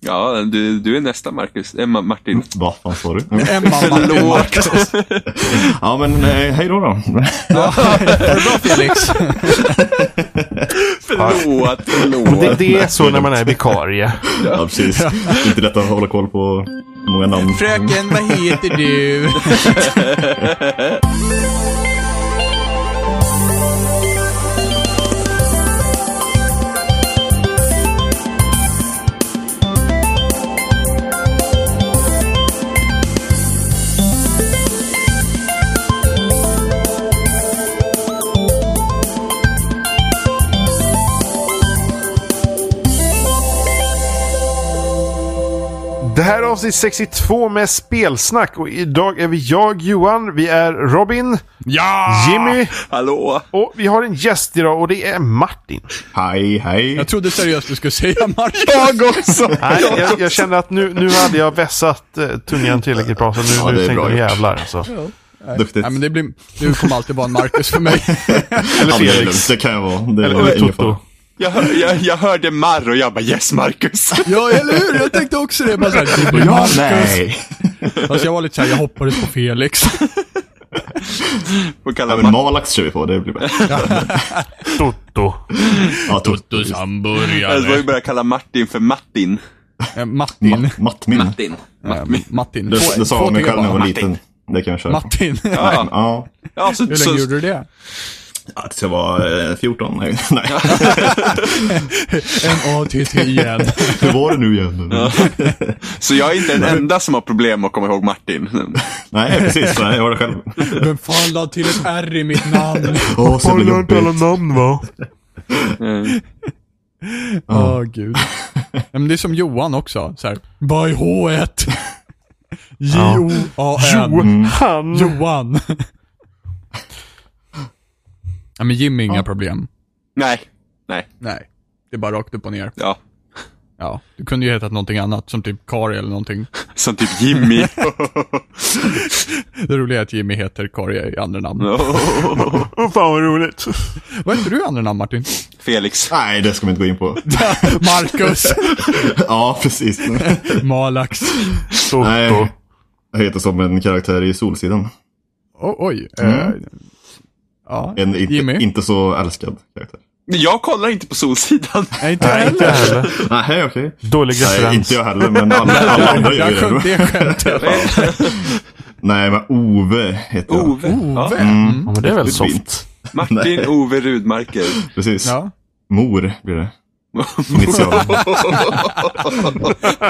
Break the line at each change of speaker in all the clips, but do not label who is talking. Ja, du, du är nästa Marcus. Emma, Martin.
Vad fan sa du?
Emma, Martin, Mm. Marcus.
Ja men eh, hej då då.
Ja, är det bra Felix?
Förlåt,
Det,
förlåt.
det är så när man är vikarie.
Ja precis. Inte lätt att hålla koll på många namn.
Fröken, vad heter du?
Det här är avsnitt 62 med spelsnack och idag är vi jag, Johan, vi är Robin,
Ja!
Jimmy
Hallå.
och vi har en gäst idag och det är Martin.
Hej hej.
Jag trodde seriöst du skulle säga Marcus. Jag också!
Nej, jag, jag kände att nu, nu hade jag vässat eh, tungan tillräckligt bra så nu,
Ja, det
nu
är
tänkte
bra
jag
gjort.
jävlar alltså.
Duktigt.
Nej, men det blir... Du kommer alltid vara en Marcus för mig.
Eller
Ja, men det, är lugnt.
Felix.
det kan jag vara. Det
Eller,
var
eller
ingen
Toto.
fara.
Jag, hör, jag, jag hörde Marr och jag bara yes Marcus.
Ja, eller hur? Jag tänkte också det. Bara så här, det blir
Ja,
Marcus.
nej.
Fast jag var lite såhär, jag hoppades på Felix.
Och
Ja,
kallar
men
Marr.
Malax kör vi på, det blir bra.
Toto.
Ja, Toto.
Du
Jag ska
hamburgare.
börja kalla Martin för Mattin.
Eh, Martin.
Mattmin.
Martin.
Eh, Martin.
Det,
Två-
det
två
sa jag mig
till
själv när jag
bara.
var liten. Det kan jag köra på.
Martin.
Ja,
Ja,
ja så,
Hur
så,
länge gjorde du det?
att jag var eh, 14. Nej, nej.
M-A-T-T igen.
Hur var det nu igen?
så jag är inte den enda som har problem med att komma ihåg Martin.
Nej, precis. Nej, jag var det själv.
Vem fan la till ett R i mitt namn?
Åh, så jävla jobbigt.
namn va?
Åh gud. Ja, men det är som Johan också. Så här. By H1. J-O-A-N.
Mm.
Han.
Johan. ja, men Jimmy inga problem.
Nej, nej,
Nej. Det är bara rakt upp och ner.
ja.
Ja. Du kunde ju hetat någonting annat, som typ Kari eller någonting.
Som typ Jimmy.
Det roliga är att Jimmy heter Kari i andra namn.
Oh, fan vad roligt.
Vad heter du i andra namn Martin?
Felix.
Nej, det ska man inte gå in på.
Marcus.
Ja, precis.
Malax.
Nej, jag heter som en karaktär i Solsidan.
Oh, oj. Eh, ja.
En
Jimmy?
inte, inte så älskad karaktär.
Jag kollar inte på Solsidan.
Nej, inte jag heller.
Inte heller.
Nej, okej.
Dålig
Nej,
referens.
inte jag heller, men alla, alla andra gör
Jag
ju
sjöng
det.
det skämtet.
Nej, men Ove heter jag.
Ove. Ja.
Mm.
Ja, men det är väl
Det är
soft.
fint.
Martin Ove Rudmarker.
Precis.
Ja.
Mor blir det. Initialen.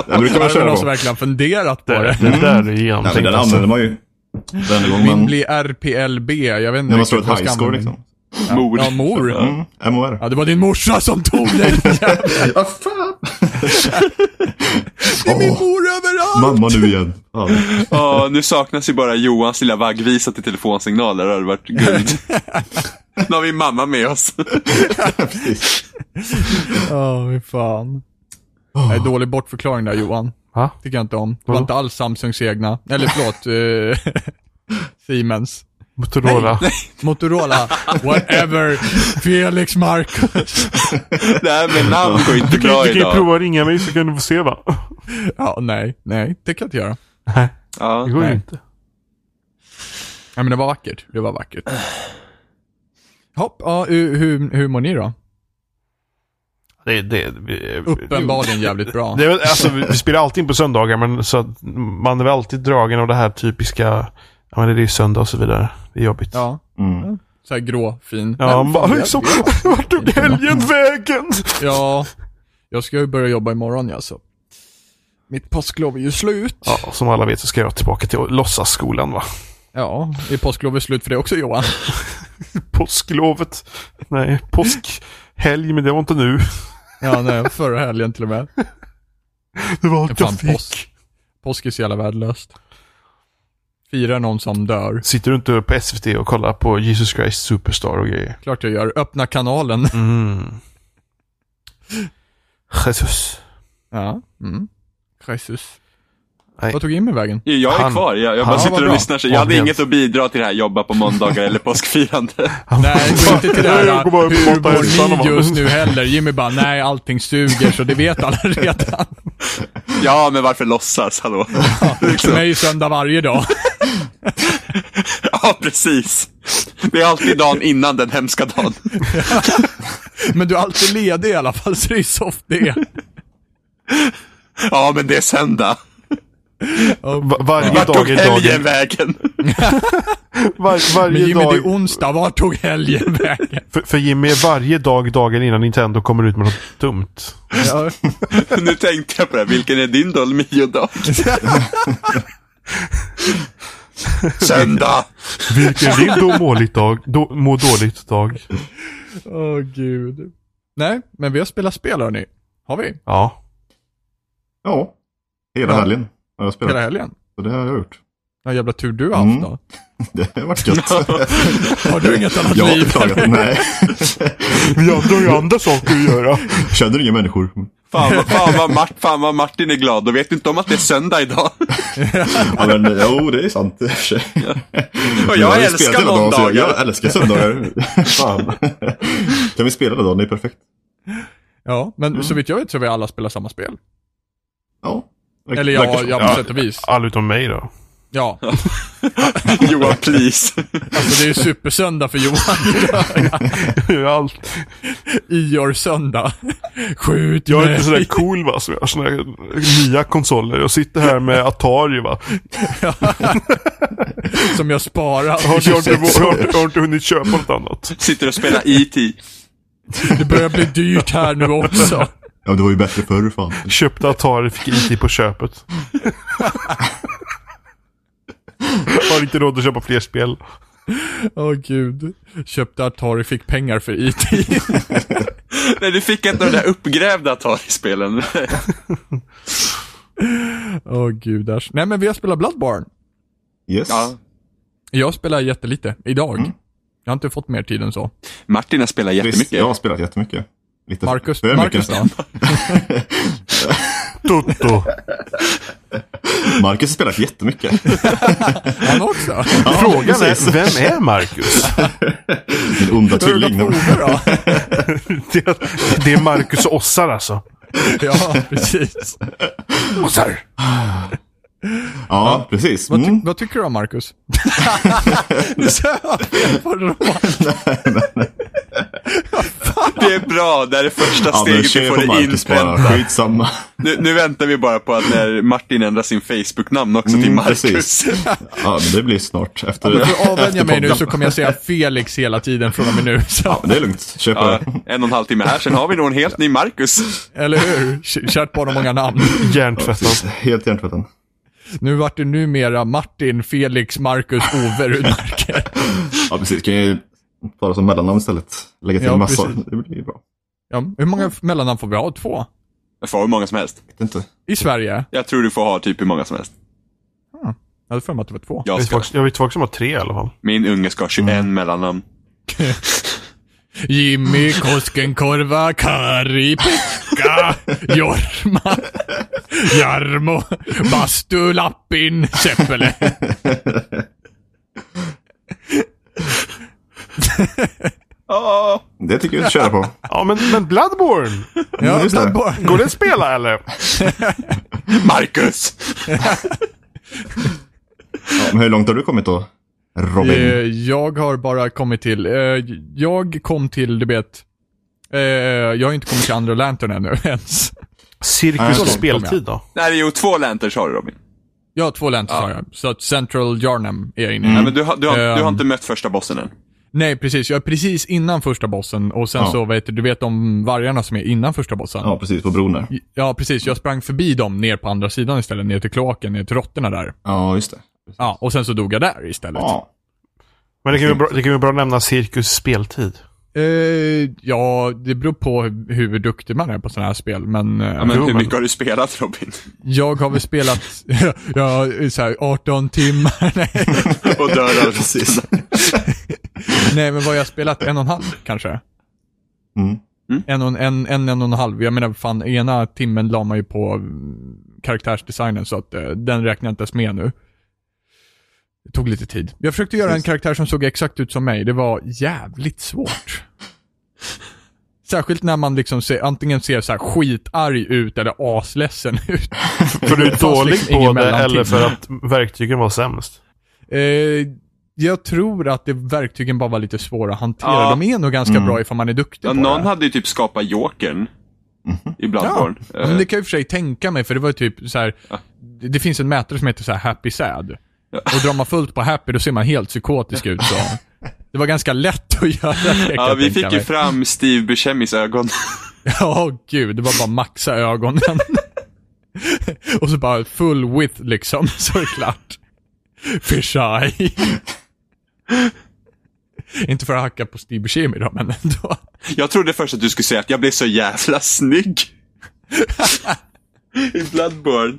jag brukar man
Är det
köra
någon som
på.
verkligen funderat på
Det,
det?
det där är
Mm. Ja, men
genomtänkt.
den
alltså.
använder man ju. Den gången
Min
man,
blir RPLB, jag vet inte
när man
riktigt
slår ett
vad jag ska
highscore
använda.
liksom.
Mor.
Ja, mor.
Mm, MHR.
Ja, det var din morsa som tog den.
Ja, fan!
Det är min mor överallt.
Mamma nu igen. Ja.
Ja, nu saknas ju bara Johans lilla vaggvisa till telefonsignaler. Det hade varit guld. Nu har vi mamma med oss.
Ja, fy fan.
Ah.
Det är dålig bortförklaring där Johan.
Va?
Tycker jag inte om. Det var inte alls Samsungs egna. Eller förlåt, eh, Siemens.
Motorola.
Motorola, whatever. Felix Marcus.
Det här med namn går inte
Du
bra
kan ju
idag.
prova att ringa mig så kan du få se va?
Ja, nej, nej, det kan jag inte göra.
Nej,
Ja.
det går ju
Nej.
inte.
Ja, men det var vackert. Det var vackert.
Ah.
Hopp, ja, hur, hur, hur mår ni då?
Det, det, vi-
Uppenbarligen jävligt bra.
Det är väl, alltså, vi, vi spelar alltid in på söndagar, men så att man är väl alltid dragen av det här typiska, ja men det är ju söndag och så vidare. Det är jobbigt.
Ja.
Mm.
Så här grå, fin.
Ja, man bara liksom, vart tog helgen vägen?
Ja. Jag ska ju börja jobba imorgon ja, så. Mitt påsklov är ju slut.
Ja, som alla vet så ska jag tillbaka till låtsasskolan va?
Ja, är påsklovet slut för det också Johan?
Påsklovet. Nej, påskhelg, men det var inte nu.
Ja, nej, förra helgen till och med.
Det var
Men
allt
Fan,
jag fick.
påsk. Påsk är så jävla värdelöst. Fira någon som dör.
Sitter du inte på SVT och kollar på Jesus Christ Superstar och grejer?
Klart jag gör. Öppna kanalen.
Mm. Jesus.
Ja. Mm. Jesus.
Nej.
Vad tog in mig vägen?
Jag är
Han-
kvar. Jag, jag
han-
bara
Ja, vad
sitter och
bra.
lyssnar. Så jag hade
Avled.
inget att bidra till det här jobba på måndagar eller påskfirande.
Nej, gå inte till det här.
Jag går bara upp och
Hur
matar hästarna,
mår
va?"
ni just nu heller? Jimmy bara, nej allting suger så det vet alla redan.
Ja, men varför låtsas? Hallå?
För mig är söndag varje dag.
Ja, precis. Det är alltid dagen innan den hemska dagen.
Men du är alltid ledig i alla fall, så det är soft det.
Ja, men det är söndag.
Va- varje
Vart
dag
tog
är
helgen
dagen...
vägen?
Var,
Men
varje
Jimmy, det är
dag,
onsdag. Vart tog helgen vägen?
för, för Jimmy är varje dag dagen innan Nintendo kommer ut med något dumt.
Ja.
Nu tänkte jag på det, här. vilken är din Dolmio-dag? Söndag!
Vilken är din då måligt dag? Då, må dåligt dag?
Åh, gud. Nej, men vi har spelat spel, hörni. Har vi?
Ja.
Ja, hela
Ja.
helgen har jag
Hela
spelat.
helgen.
Så det har jag gjort.
Ja, jävla tur du har haft
Mm.
då.
Det har varit gött.
Har du inget annat
Jag har
liv?
inte klagat. Nej.
Vi andra har ju andra saker att göra.
Känner inga människor.
Fan, vad- fan, vad Mart, fan vad Martin är glad. Då vet du inte om att det är söndag idag.
Ja, men, jo, det är sant i och för sig.
Och
Men har
jag
ju spelat
älskar
hela dagen, så jag- Jag
måndagar.
älskar söndagar. Fan. Kan vi spela den dagen? Det är perfekt.
Ja, men så vitt jag vet så har vi alla spelat samma spel.
Ja.
Eller
Verkar
ja,
så.
ja på sätt och vis.
All utom mig då.
Ja,
Johan, please.
alltså det är ju supersöndag för Johan.
Allt.
I your söndag. Skjut
Jag är
mig.
inte sådär cool va, som jag har såna här nya konsoler. Jag sitter här med Atari va.
Som jag sparar.
Jag har, jag har, inte, jag har, inte- jag har inte hunnit köpa något annat.
Sitter och spelar
E
E.T.
Det börjar bli dyrt här nu också.
Ja, men det var ju bättre förr fan.
Köpte Atari, fick IT på köpet. Har inte råd att köpa fler spel.
Åh gud. Köpte Atari, fick pengar för IT.
Nej, du fick ett av de där uppgrävda Atari-spelen.
Åh gudars. Nej men vi har spelat Bloodborne.
Yes.
Ja.
Jag spelar jättelite, idag. Jag har inte fått mer tid än så.
Martin har spelat
Visst,
jättemycket.
jag har spelat jättemycket. Lite
Marcus,
för mycket
Marcus då?
nästan.
Toto.
Marcus har spelat jättemycket.
Han också?
Frågan är, vem är Marcus?
Min onda tvilling.
Ove då?
Det, det är Marcus och Ossar alltså.
Ja, precis.
Ossar!
Ja, precis.
Vad, ty-
Mm.
vad tycker du om Marcus? Nu sa jag fel på det då.
Det är bra, det här är första
Ja, men
steget vi
kör
får
på
det
Marcus bara.
inpräntat.
Skitsamma.
Nu, nu väntar vi bara på att när Martin ändrar sin Facebook-namn också till
Mm,
Marcus.
precis. Ja, men det blir snart. Efter,
För att avvänja
efter
mig nu
podden.
så kommer jag säga Felix hela tiden från och med nu. Så,
Men Det är lugnt. Kör på
Ja,
det.
en och en halv timme här, sen har vi nog en helt ny Marcus.
eller hur? K- Kärt barn har många namn.
Hjärntvättad.
Helt hjärntvätten.
Nu vart det numera Martin, Felix, Marcus, Ove Rudmarker.
Ja, precis. Kan jag ju ta det som mellannamn istället. Lägga till
Ja,
massor.
precis.
Det blir ju bra.
Ja, hur många f- mellannamn får vi ha? Två?
Jag får hur många som helst.
Vet inte.
I Sverige?
Jag tror du får ha typ hur många som helst.
Jag hade för mig att det var två.
Jag
Jag vet
ska.
folk- Jag vet folk som har tre i alla fall.
Min unge ska ha 21
Mm.
mellannamn.
Jimmy, Koskenkorva, Kari, Pekka, Jorma, Jarmo, Bastu, Lappin, Seppele.
Oh,
Det tycker jag vi kör på.
Ja, men, men Bloodborne!
Ja,
just det.
Bloodborne.
Går det att spela eller?
Marcus!
Ja, men hur långt har du kommit då? Robin?
Eh, Jag har bara kommit till, eh, jag kom till, du vet, eh, jag har inte kommit till andra Lantern ännu ens.
Cirkus och
okej.
speltid då?
Nej, jo, två lanterns har du Robin.
Jag har två Lanterns har jag, så att Central Jarnam är jag inne i.
Nej, men du, har- du, har, du har
Ehm.
inte mött första bossen än.
Nej, precis. Jag är precis innan första bossen och sen
Ja.
så, vet du, du vet de vargarna som är innan första bossen?
Ja, precis. På bron där.
Ja, precis. Jag sprang förbi dem ner på andra sidan istället, ner till kloaken, ner till råttorna där.
Ja, just det.
Ja, och sen så dog jag där istället.
Ja.
Men det kan ju bra, det kan ju bra nämna cirkus speltid.
Eh, ja, det beror på hur, hur duktig man är på sådana här spel, men, eh,
Ja, men
Jo,
hur
men-
mycket har du spelat Robin?
jag har väl spelat, ja, så här 18 timmar. Nej.
Och dör av
Precis.
Nej, men vad har jag spelat? En och en halv kanske?
Mm.
En, och, en, en, en, och en halv. Jag menar, fan, ena timmen la man ju på mm, karaktärsdesignen, så att eh, den räknar jag inte ens med nu. Det tog lite tid. Jag försökte göra en karaktär som såg exakt ut som mig. Det var jävligt svårt. Särskilt när man liksom ser, antingen ser så här skitarg ut eller asledsen ut.
För du
Det
är
fanns
dålig
liksom
på
ingen
det
mellanting.
eller för att verktygen var sämst?
Eh, jag tror att det, verktygen bara var lite svåra att hantera.
Ja. Mm.
De är nog ganska bra ifall man är duktig
Ja,
på
någon
det.
hade ju typ skapat jokern i Bloodborne.
Mhm.
Eh,
Ja, Alltså, men det kan jag i och för sig tänka mig, för det var ju typ så här. Det det finns en mätare som heter så här happy sad. Och drar man fullt på happy, då ser man helt psykotisk ut. Så. Det var ganska lätt att göra det, kan
ja,
jag
vi
tänka
fick ju
mig.
fram Steve Buscemis ögon.
Ja, gud. Det var bara maxa ögonen. och så bara full width liksom, så är det klart. Fish eye. Inte för att hacka på Steve Buscemi då, men ändå.
Jag trodde först att du skulle säga att jag blev så jävla snygg. I Bloodborne.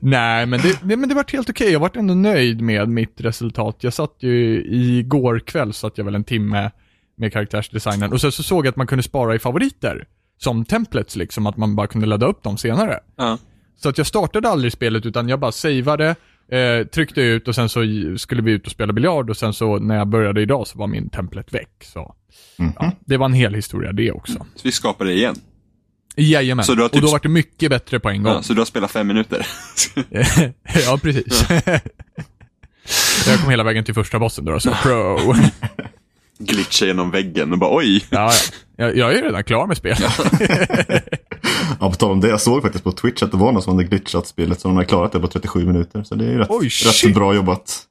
Nej, men det, det, men det vart helt okej. Jag vart ändå nöjd med mitt resultat. Jag satt ju igår kväll, satt jag väl en timme med karaktärsdesignen. Och sen så såg jag att man kunde spara i favoriter. Som templates liksom, att man bara kunde ladda upp dem senare.
Ja.
Så att jag startade aldrig spelet utan jag bara saveade, eh, tryckte ut och sen så skulle vi ut och spela biljard och sen så när jag började idag så var min template väck. Så. Ja, det var en hel historia det också.
Så vi skapade det igen.
Jajamän,
Så du har
och
typ-
då var det mycket bättre på en gång.
Ja, så du har spelat fem minuter.
ja, precis. jag kom hela vägen till första bossen då, så pro.
Glitcha genom väggen och bara oj.
Ja, ja. Jag, jag är ju redan klar med spelet.
Ja, på tal om det. Jag såg faktiskt på Twitch att det var någon som hade glitchat spelet. Så de har klarat det på 37 minuter. Så det är ju rätt,
Oj, shit.
rätt bra jobbat.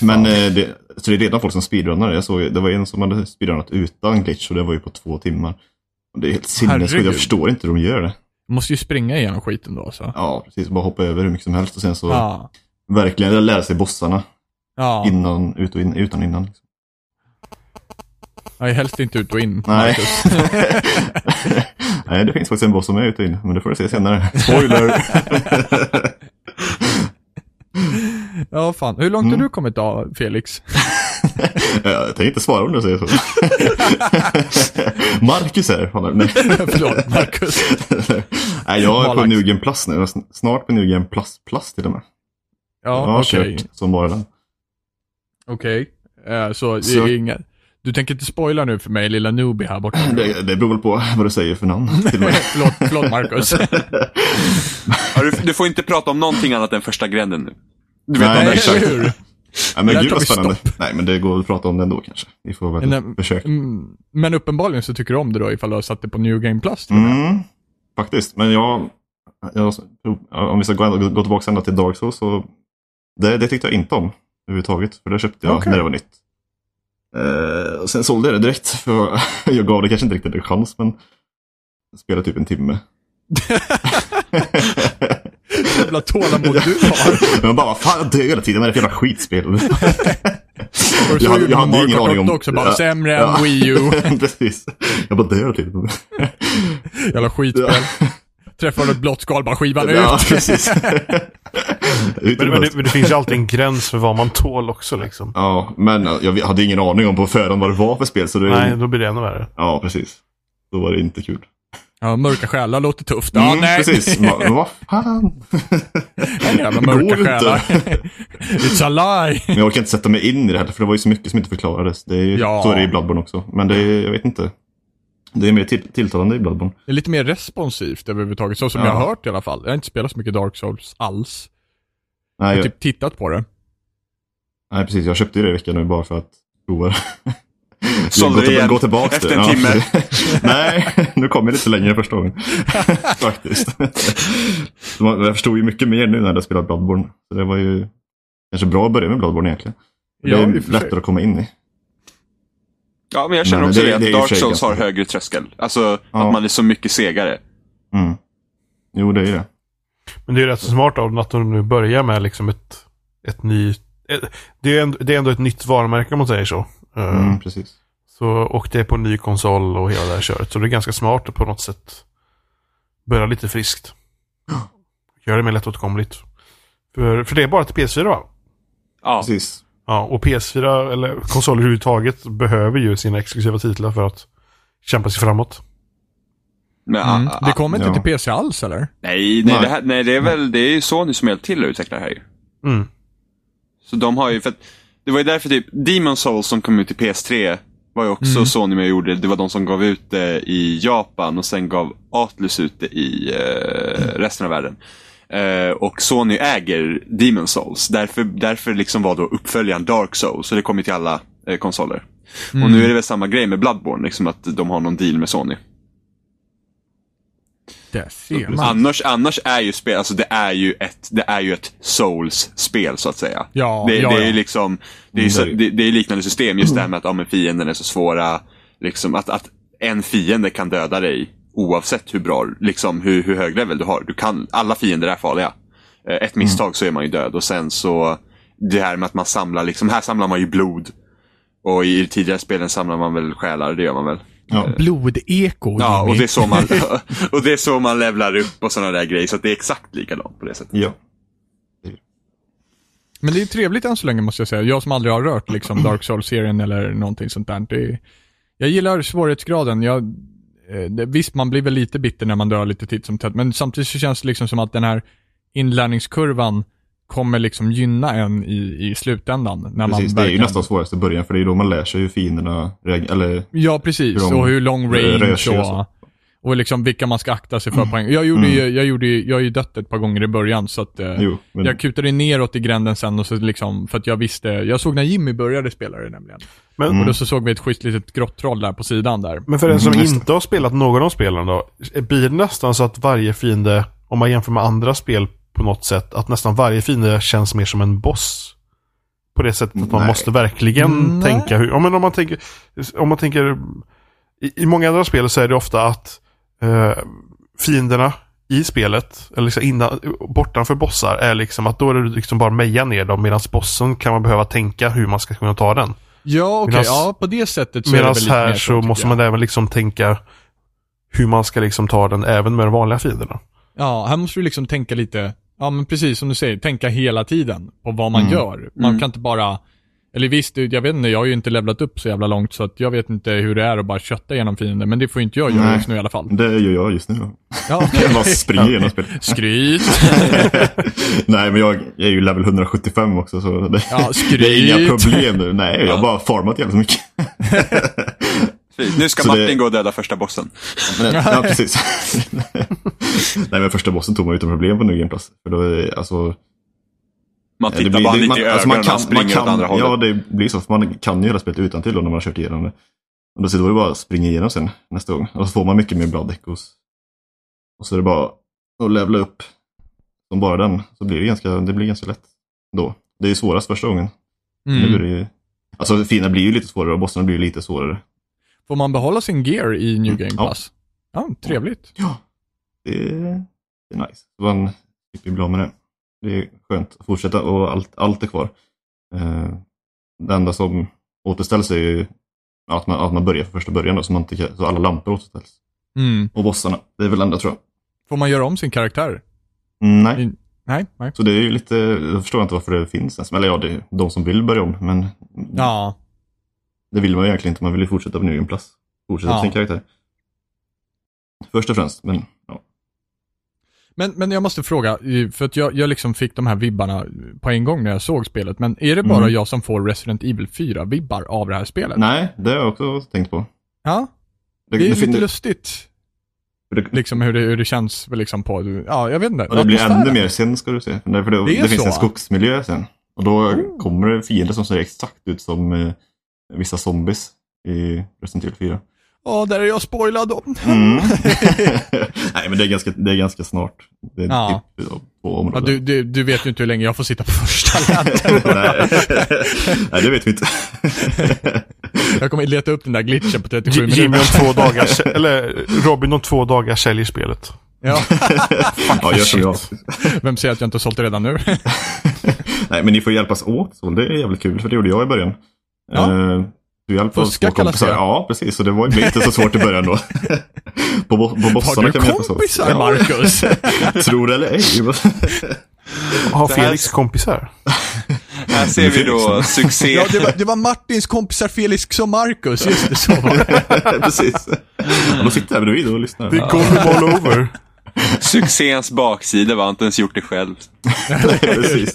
Men eh, det, så det är redan folk som speedrunnar. Jag såg, ju- det var en som hade speedrunnat utan glitch och det var ju på två timmar. Och det är helt sinnessjukt.
Herregud.
Jag förstår inte hur de gör det.
Måste ju springa igenom skiten då så.
Ja, precis. Bara hoppa över hur mycket som helst och sen så
Ja.
verkligen jag lära sig bossarna.
Ja,
Innan, ut och in, utan innan. Liksom.
jag är helst inte ut och in.
Nej.
Marcus.
Nej, det finns faktiskt en boss som är ut och in. Men det får du se senare. Spoiler!
Ja, fan. Hur långt har du kommit då, Felix?
Ja, jag tänker inte svara om du säger så. Marcus här. Han är, nej.
Förlåt, Marcus.
nej, jag är på
Malax.
New Game Plus nu. Jag är sn- Snart på New Game Plus Plus till och med. jag
Ja,
har
okej.
kört som bara den.
Okej. Eh, så,
Så-
det är inga... Du tänker inte spoila nu för mig, lilla newbie här borta?
Det, det beror väl på vad du säger för namn. Till och med.
förlåt, förlåt Marcus.
Ja, du, du får inte prata om någonting annat än första gränden nu. Du vet
Nej,
om det
exakt.
är
Eller hur?
Nej, men
Där
gud
tar
vad
vi
spännande. Nej, men det går att prata om den då kanske. Vi får väl
Nej,
försöka.
Mm, Men uppenbarligen så tycker du om det då ifall du har satt det på New Game Plus. typ. till och med.
Mm, faktiskt, men jag, jag... Om vi ska gå, gå tillbaka ända till Dark Souls så... Det, det tyckte jag inte om överhuvudtaget. För det köpte jag
Okej.
när det var nytt. Eh, och sen sålde jag det direkt. För jag gav det kanske inte riktigt en chans, men... Jag spelade typ en timme.
Jävla tålamod du har.
Men bara, vad fan jag dör hela tiden med det för jävla skitspel.
Och så
Jag hade-
gjorde
jag
man
hade ingen
Mario Kart
aning om-
8 också, bara
Ja.
sämre
Ja.
än Wii U.
Precis. Jag bara dör hela tiden.
Jävla skitspel. Träffar ett blått skal, bara skivan
Ja,
ut.
precis. Ut
Men,
ur
men,
fönstret.
det, men det finns ju alltid en gräns för vad man tål också liksom.
Ja, men jag hade ingen aning om på förhand vad det var för spel. Så det...
Nej, då blir det ännu värre.
Ja, precis. Då var det inte kul.
Ja, mörka själar låter tufft. Ja,
Mm,
nej.
Precis. Ma- Men vad fan? går
Jävla mörka
inte.
själar. It's a lie.
Men jag orkar inte sätta mig in i det heller, för det var ju så mycket som inte förklarades. Det är ju,
Ja.
Så är det i Bloodborne också. Men det är, jag vet inte. Det är mer till, tilltalande i Bloodborne.
Det är lite mer responsivt överhuvudtaget, så som
Ja.
jag har hört i alla fall. Jag har inte spelat så mycket Dark Souls alls.
Nej,
Jag
jag,
har typ tittat på det.
nej, precis. Jag köpte ju det i veckan nu bara för att prova det.
Sålde
gå,
det
till-
igen
gå tillbaka
efter
till det.
en timme.
precis. nej, nu kom jag lite längre första gången. Faktiskt. Så man- Jag förstod ju mycket mer nu när jag spelat Bloodborne. Så det var ju kanske bra att börja med Bloodborne egentligen. Det
Ja,
är
i och för sig.
lättare att komma in i.
Ja, men jag känner
Men
också
det-
det, att
det är i och
Dark
för sig
Souls har
ganska-
högre tröskel. Alltså,
Ja.
att man är så mycket segare.
Mm. Jo, det är ju det.
Men det är ju rätt så smart av dem att de nu börjar med liksom ett, ett ny... Ett, det, är ändå, det är ändå ett nytt varumärke om man säger så. Eh,
Mm, Precis.
så. Och det är på en ny konsol och hela det här köret. Så det är ganska smart att på något sätt börja lite friskt. Gör det mer lättåtkomligt. För, för det är bara till PS4 va?
Ja,
Precis.
Ja, och PS4 eller konsoler överhuvudtaget behöver ju sina exklusiva titlar för att kämpa sig framåt.
men, ah,
Mm.
ah,
Det kommer inte
Ja.
till PC alls eller?
Nej, nej,
Nej.
det, här, nej det är väl det är ju Sony som hjälpt till att utveckla det här ju.
Mm.
Så de har ju, för att, det var ju därför typ Demon Souls som kom ut i PS3 var ju också
Mm.
Sony med och gjorde. Det var de som gav ut det i Japan och sen gav Atlus ut det i eh, resten av världen. Eh, och Sony äger Demon Souls. Därför, därför liksom var då uppföljaren Dark Souls. Så det kommer till alla eh, konsoler. Och nu är det väl samma grej med Bloodborne, liksom att de har någon deal med Sony.
Det ser man.
Annars, annars är ju spel, alltså det är ju ett, det är ju ett Souls-spel så att säga.
Ja,
det,
ja,
det är ju
ja.
liksom, det är, ju så, det, det är liknande system, just det här med att ja, men fienden är så svåra. Liksom, att, att en fiende kan döda dig oavsett hur bra, liksom hur, hur hög level du har. Du kan, alla fiender är farliga. Eh, Ett misstag så är man ju död och sen så, det här med att man samlar, liksom, här samlar man ju blod. Och i tidigare spelen samlar man väl själar, det gör man väl.
Ja.
Blodeko,
Ja, och
Jimmy.
det är så man, och det är så man levlar upp och sådana där grejer. Så att det är exakt likadant på det sättet.
ja.
Men det är trevligt än så länge måste jag säga. Jag som aldrig har rört liksom
Mm.
Dark Souls-serien eller någonting sånt där. Det är, jag gillar svårighetsgraden. Jag, eh, det, visst, man blir väl lite bitter när man dör lite titt som tätt, men samtidigt så känns det liksom som att den här inlärningskurvan kommer liksom gynna en i, i slutändan.
Precis,
När man
det är ju
verkligen-
nästan svårast i början för det är då man lär sig hur fienderna reagerar. Eller
Ja, precis.
hur de
och hur lång
rör
range
sig och så.
och, och liksom vilka man ska akta sig för. på en- Jag, gjorde ju, jag, gjorde ju, jag har ju dött ett par gånger i början, så att eh,
Jo, men-
jag kutade neråt i gränden sen och så liksom, för att jag visste, jag såg när Jimmy började spela det nämligen.
Men,
Och då så såg vi ett schysst litet grottroll där på sidan där.
men för den som
Mm, just
inte har spelat någon av spelen då. Blir det nästan så att varje fiende, om man jämför med andra spel på något sätt, att nästan varje fiende känns mer som en boss? På det sättet att man
Nej.
måste verkligen
Nej.
tänka hur... Ja, men om man tänker... Om man tänker i, I många andra spel så är det ofta att eh, fienderna i spelet, eller liksom innan, bortanför bossar, är liksom att då är det liksom bara meja ner dem. Medan bossen kan man behöva tänka hur man ska kunna ta den.
Ja, okej.
Medans-
ja, på det sättet så är
Medan
det väl lite
här
mer
så
tycker
måste
jag.
man även liksom tänka hur man ska liksom ta den även med de vanliga fienderna.
Ja, här måste du liksom tänka lite, ja men precis som du säger, tänka hela tiden på vad
Mm.
man gör. Man kan inte bara, eller visst, det- jag vet inte, jag har ju inte levlat upp så jävla långt så att jag vet inte hur det är att bara kötta igenom fienden, men det får ju inte jag göra
Nej.
just nu i alla fall.
det gör jag just nu. då.
Ja,
Jag bara
okej.
springer genom spelet.
Skryt.
Nej, men jag är ju level 175 också så det,
Ja, skryt.
det är inga problem nu. Nej, jag har bara farmat jävligt mycket.
Fint. Nu ska
Så det-
Martin gå och döda första bossen.
Men, ja, precis. Nej, men första bossen tog man utan problem på New Game Plus. För då, är- alltså,
Man
Ja, det
tittar
blir-
bara
det-
lite i
man-
ögonen
alltså,
och han springer åt andra hållet.
Ja, det blir så. För man kan ju hela spelet utan till då, när man har kört igenom det. Och då sitter det bara att springa igenom sen nästa gång. Och så får man mycket mer blood echoes. Och så är det bara att levla upp som bara den. Så blir det ganska, det blir ganska lätt då. Det är ju svårast första gången. Nu är
Mm.
det ju, alltså fina blir ju lite svårare och bossarna blir ju lite svårare.
Får man behålla sin gear i New Game
Mm. Ja.
Plus? Ja, trevligt.
Ja, det är, det är nice. Så man slipper bli av med det. Det är skönt att fortsätta och allt, allt är kvar. Eh, det enda som återställs är ju att man, att man börjar från första början då, så, man inte, kan- så alla lampor återställs.
Mm.
Och bossarna, det är väl det enda tror jag.
Får man göra om sin karaktär?
Mm, Nej,
Nej, nej.
så det är ju lite, jag förstår inte varför det finns ens. Eller ja, det är de som vill börja om, men
Ja,
det vill man ju egentligen inte. Man vill ju fortsätta på ny plats. Fortsätta
Ja.
sin karaktär. Först och främst, men ja.
Men, men jag måste fråga, eh, för att jag, jag liksom fick de här vibbarna på en gång när jag såg spelet, men är det bara
Mm.
jag som får Resident Evil 4-vibbar av det här spelet?
Nej, det har jag också tänkt på.
Ja, det är
det,
ju
fin-
lite lustigt,
det,
liksom hur det, hur det känns liksom på, ja jag vet inte.
Och det blir
Atmosfären.
ännu mer sen ska du se. Nej, För det,
Det är
det, finns
så. Mm.
en skogsmiljö sen. Och då kommer det fiender som ser exakt ut som eh, vissa zombies i Resident Evil 4.
Ja, där är jag spoilad om.
Mm. Nej men det är ganska, det är ganska snart. Det är
Ja.
typ eh, två
Ja,
områden.
du, du, du vet ju inte hur länge jag får sitta på första land.
Nej. Nej det vet vi inte.
Jag kommer leta upp den där glitchen på 37
J- Jimmy
minuter.
om två dagar, eller Robin om två dagar säljer spelet.
Ja,
ja gör som jag.
vem säger att jag inte har sålt det redan nu?
Nej men ni får hjälpas åt. Så det är jävligt kul för det gjorde jag i början.
Ja.
Eh, Du hjälpte oss
Fuska
två
kallas
kompisar.
det.
Ja, precis. Så det var blev inte så svårt i början då. på, bo- på
Har
bossarna
du
kan vi hjälpas åt.
kompisar,
Ja.
Marcus?
Tror det eller ej.
Har
Det här-
Felix kompisar?
Här ser vi då succé.
Ja, det var, det var Martins kompisar Felix och Marcus, just det, så var det.
Precis. Och då sitter jag bredvid och lyssnar.
Det är Golden all over.
Succéns baksida var inte ens gjort det själv.
Precis.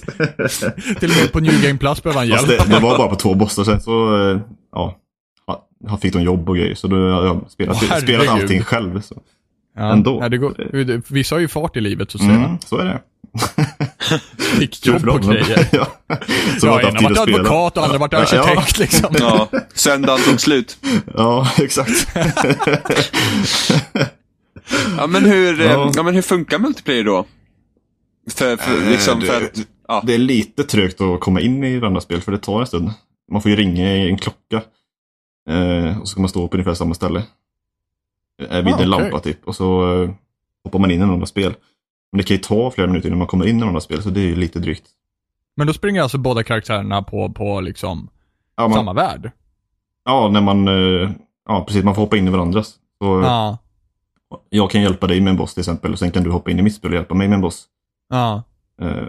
Till och med på New Game Plus behöver han hjälp.
Fast det, det var bara på två bossar sen så, eh, ja. ha- han fick de jobb och grejer. Så då har jag spelat,
Åh,
spelat
herregud.
allting själv. Så.
Ja.
Ändå. Eh.
Nej, det går, vissa har ju fart i livet så att säga.
Mm, så är det.
Fick
Kul
jobb
för
och
dem, men-
grejer.
ja. Som
Ja,
har
ena
haft tid att
vart
spela.
advokat och andra vart
Ja, ja.
arkitekt liksom.
Ja, söndagen tog slut.
Ja, exakt.
Ja, men hur, eh,
Ja.
ja. men hur funkar multiplayer då? För, för,
Eh,
liksom,
du-
för att, ja.
Det är lite trögt att komma in i varandra spel för det tar en stund. Man får ju ringa i en klocka. Eh, och så kan man stå på ungefär samma ställe. Eh, vid
Ah, okej.
en lampa typ. Och så eh, hoppar man in i några spel. Men det kan ju ta flera minuter innan man kommer in i några spel så det är ju lite drygt.
Men då springer alltså båda karaktärerna på, på liksom
Ja, man,
samma värld.
ja när man... Eh, ja, precis. Man får hoppa in i varandras. Så eh,
Ja.
jag kan hjälpa dig med en boss till exempel och sen kan du hoppa in i mitt spel och hjälpa mig med en boss.
Ja.
Eh,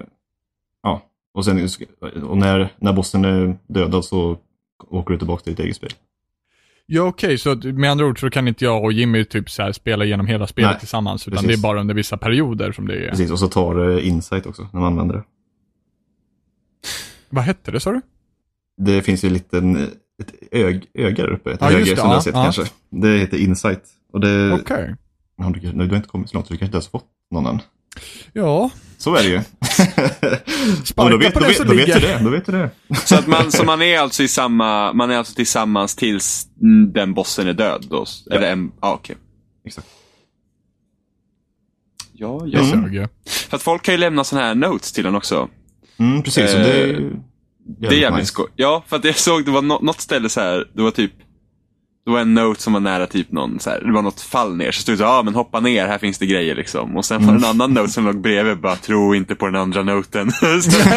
ja, och sen eh, och när, när bossen är dödad så åker du tillbaka till ditt eget spel.
Ja okej, så att- med andra ord så kan inte jag och Jimmy typ så här spela genom hela spelet
Nej,
tillsammans. Utan
precis.
det är bara under vissa perioder som det är.
Precis, och så tar det insight också när man använder det.
Vad hette det sa du?
Det finns ju en liten, ett ög, öga där uppe, ett
Ja, just
höger
det,
som du
ja,
har sett
ja.
kanske. Det heter insight. Och det,
Okej.
Ja, du, nu, du har inte kommit så långt så du kanske inte ens har fått någon än.
Ja.
Så är det ju.
Sparka
Men då vet,
på
då
den
vet,
som
då vet du
ligger.
det. Då vet du det.
Så att man, så man är alltså i samma, man är alltså tillsammans tills mm, den bossen är död då? Eller en, ja okej.
Exakt.
Ja, ja.
Jag sög ju.
För att folk kan ju lämna sådana här notes till en också.
Mm, precis. så det, är ju
Det är jävligt skoj. Ja, för att jag såg, det var nå- något ställe så här, det var typ det var en note som var nära typ någon, så här, det var något fall ner. Så stod det ja ah, men hoppa ner, här finns det grejer liksom. Och sen var det en annan note som låg bredvid, bara tro inte på den andra noten. så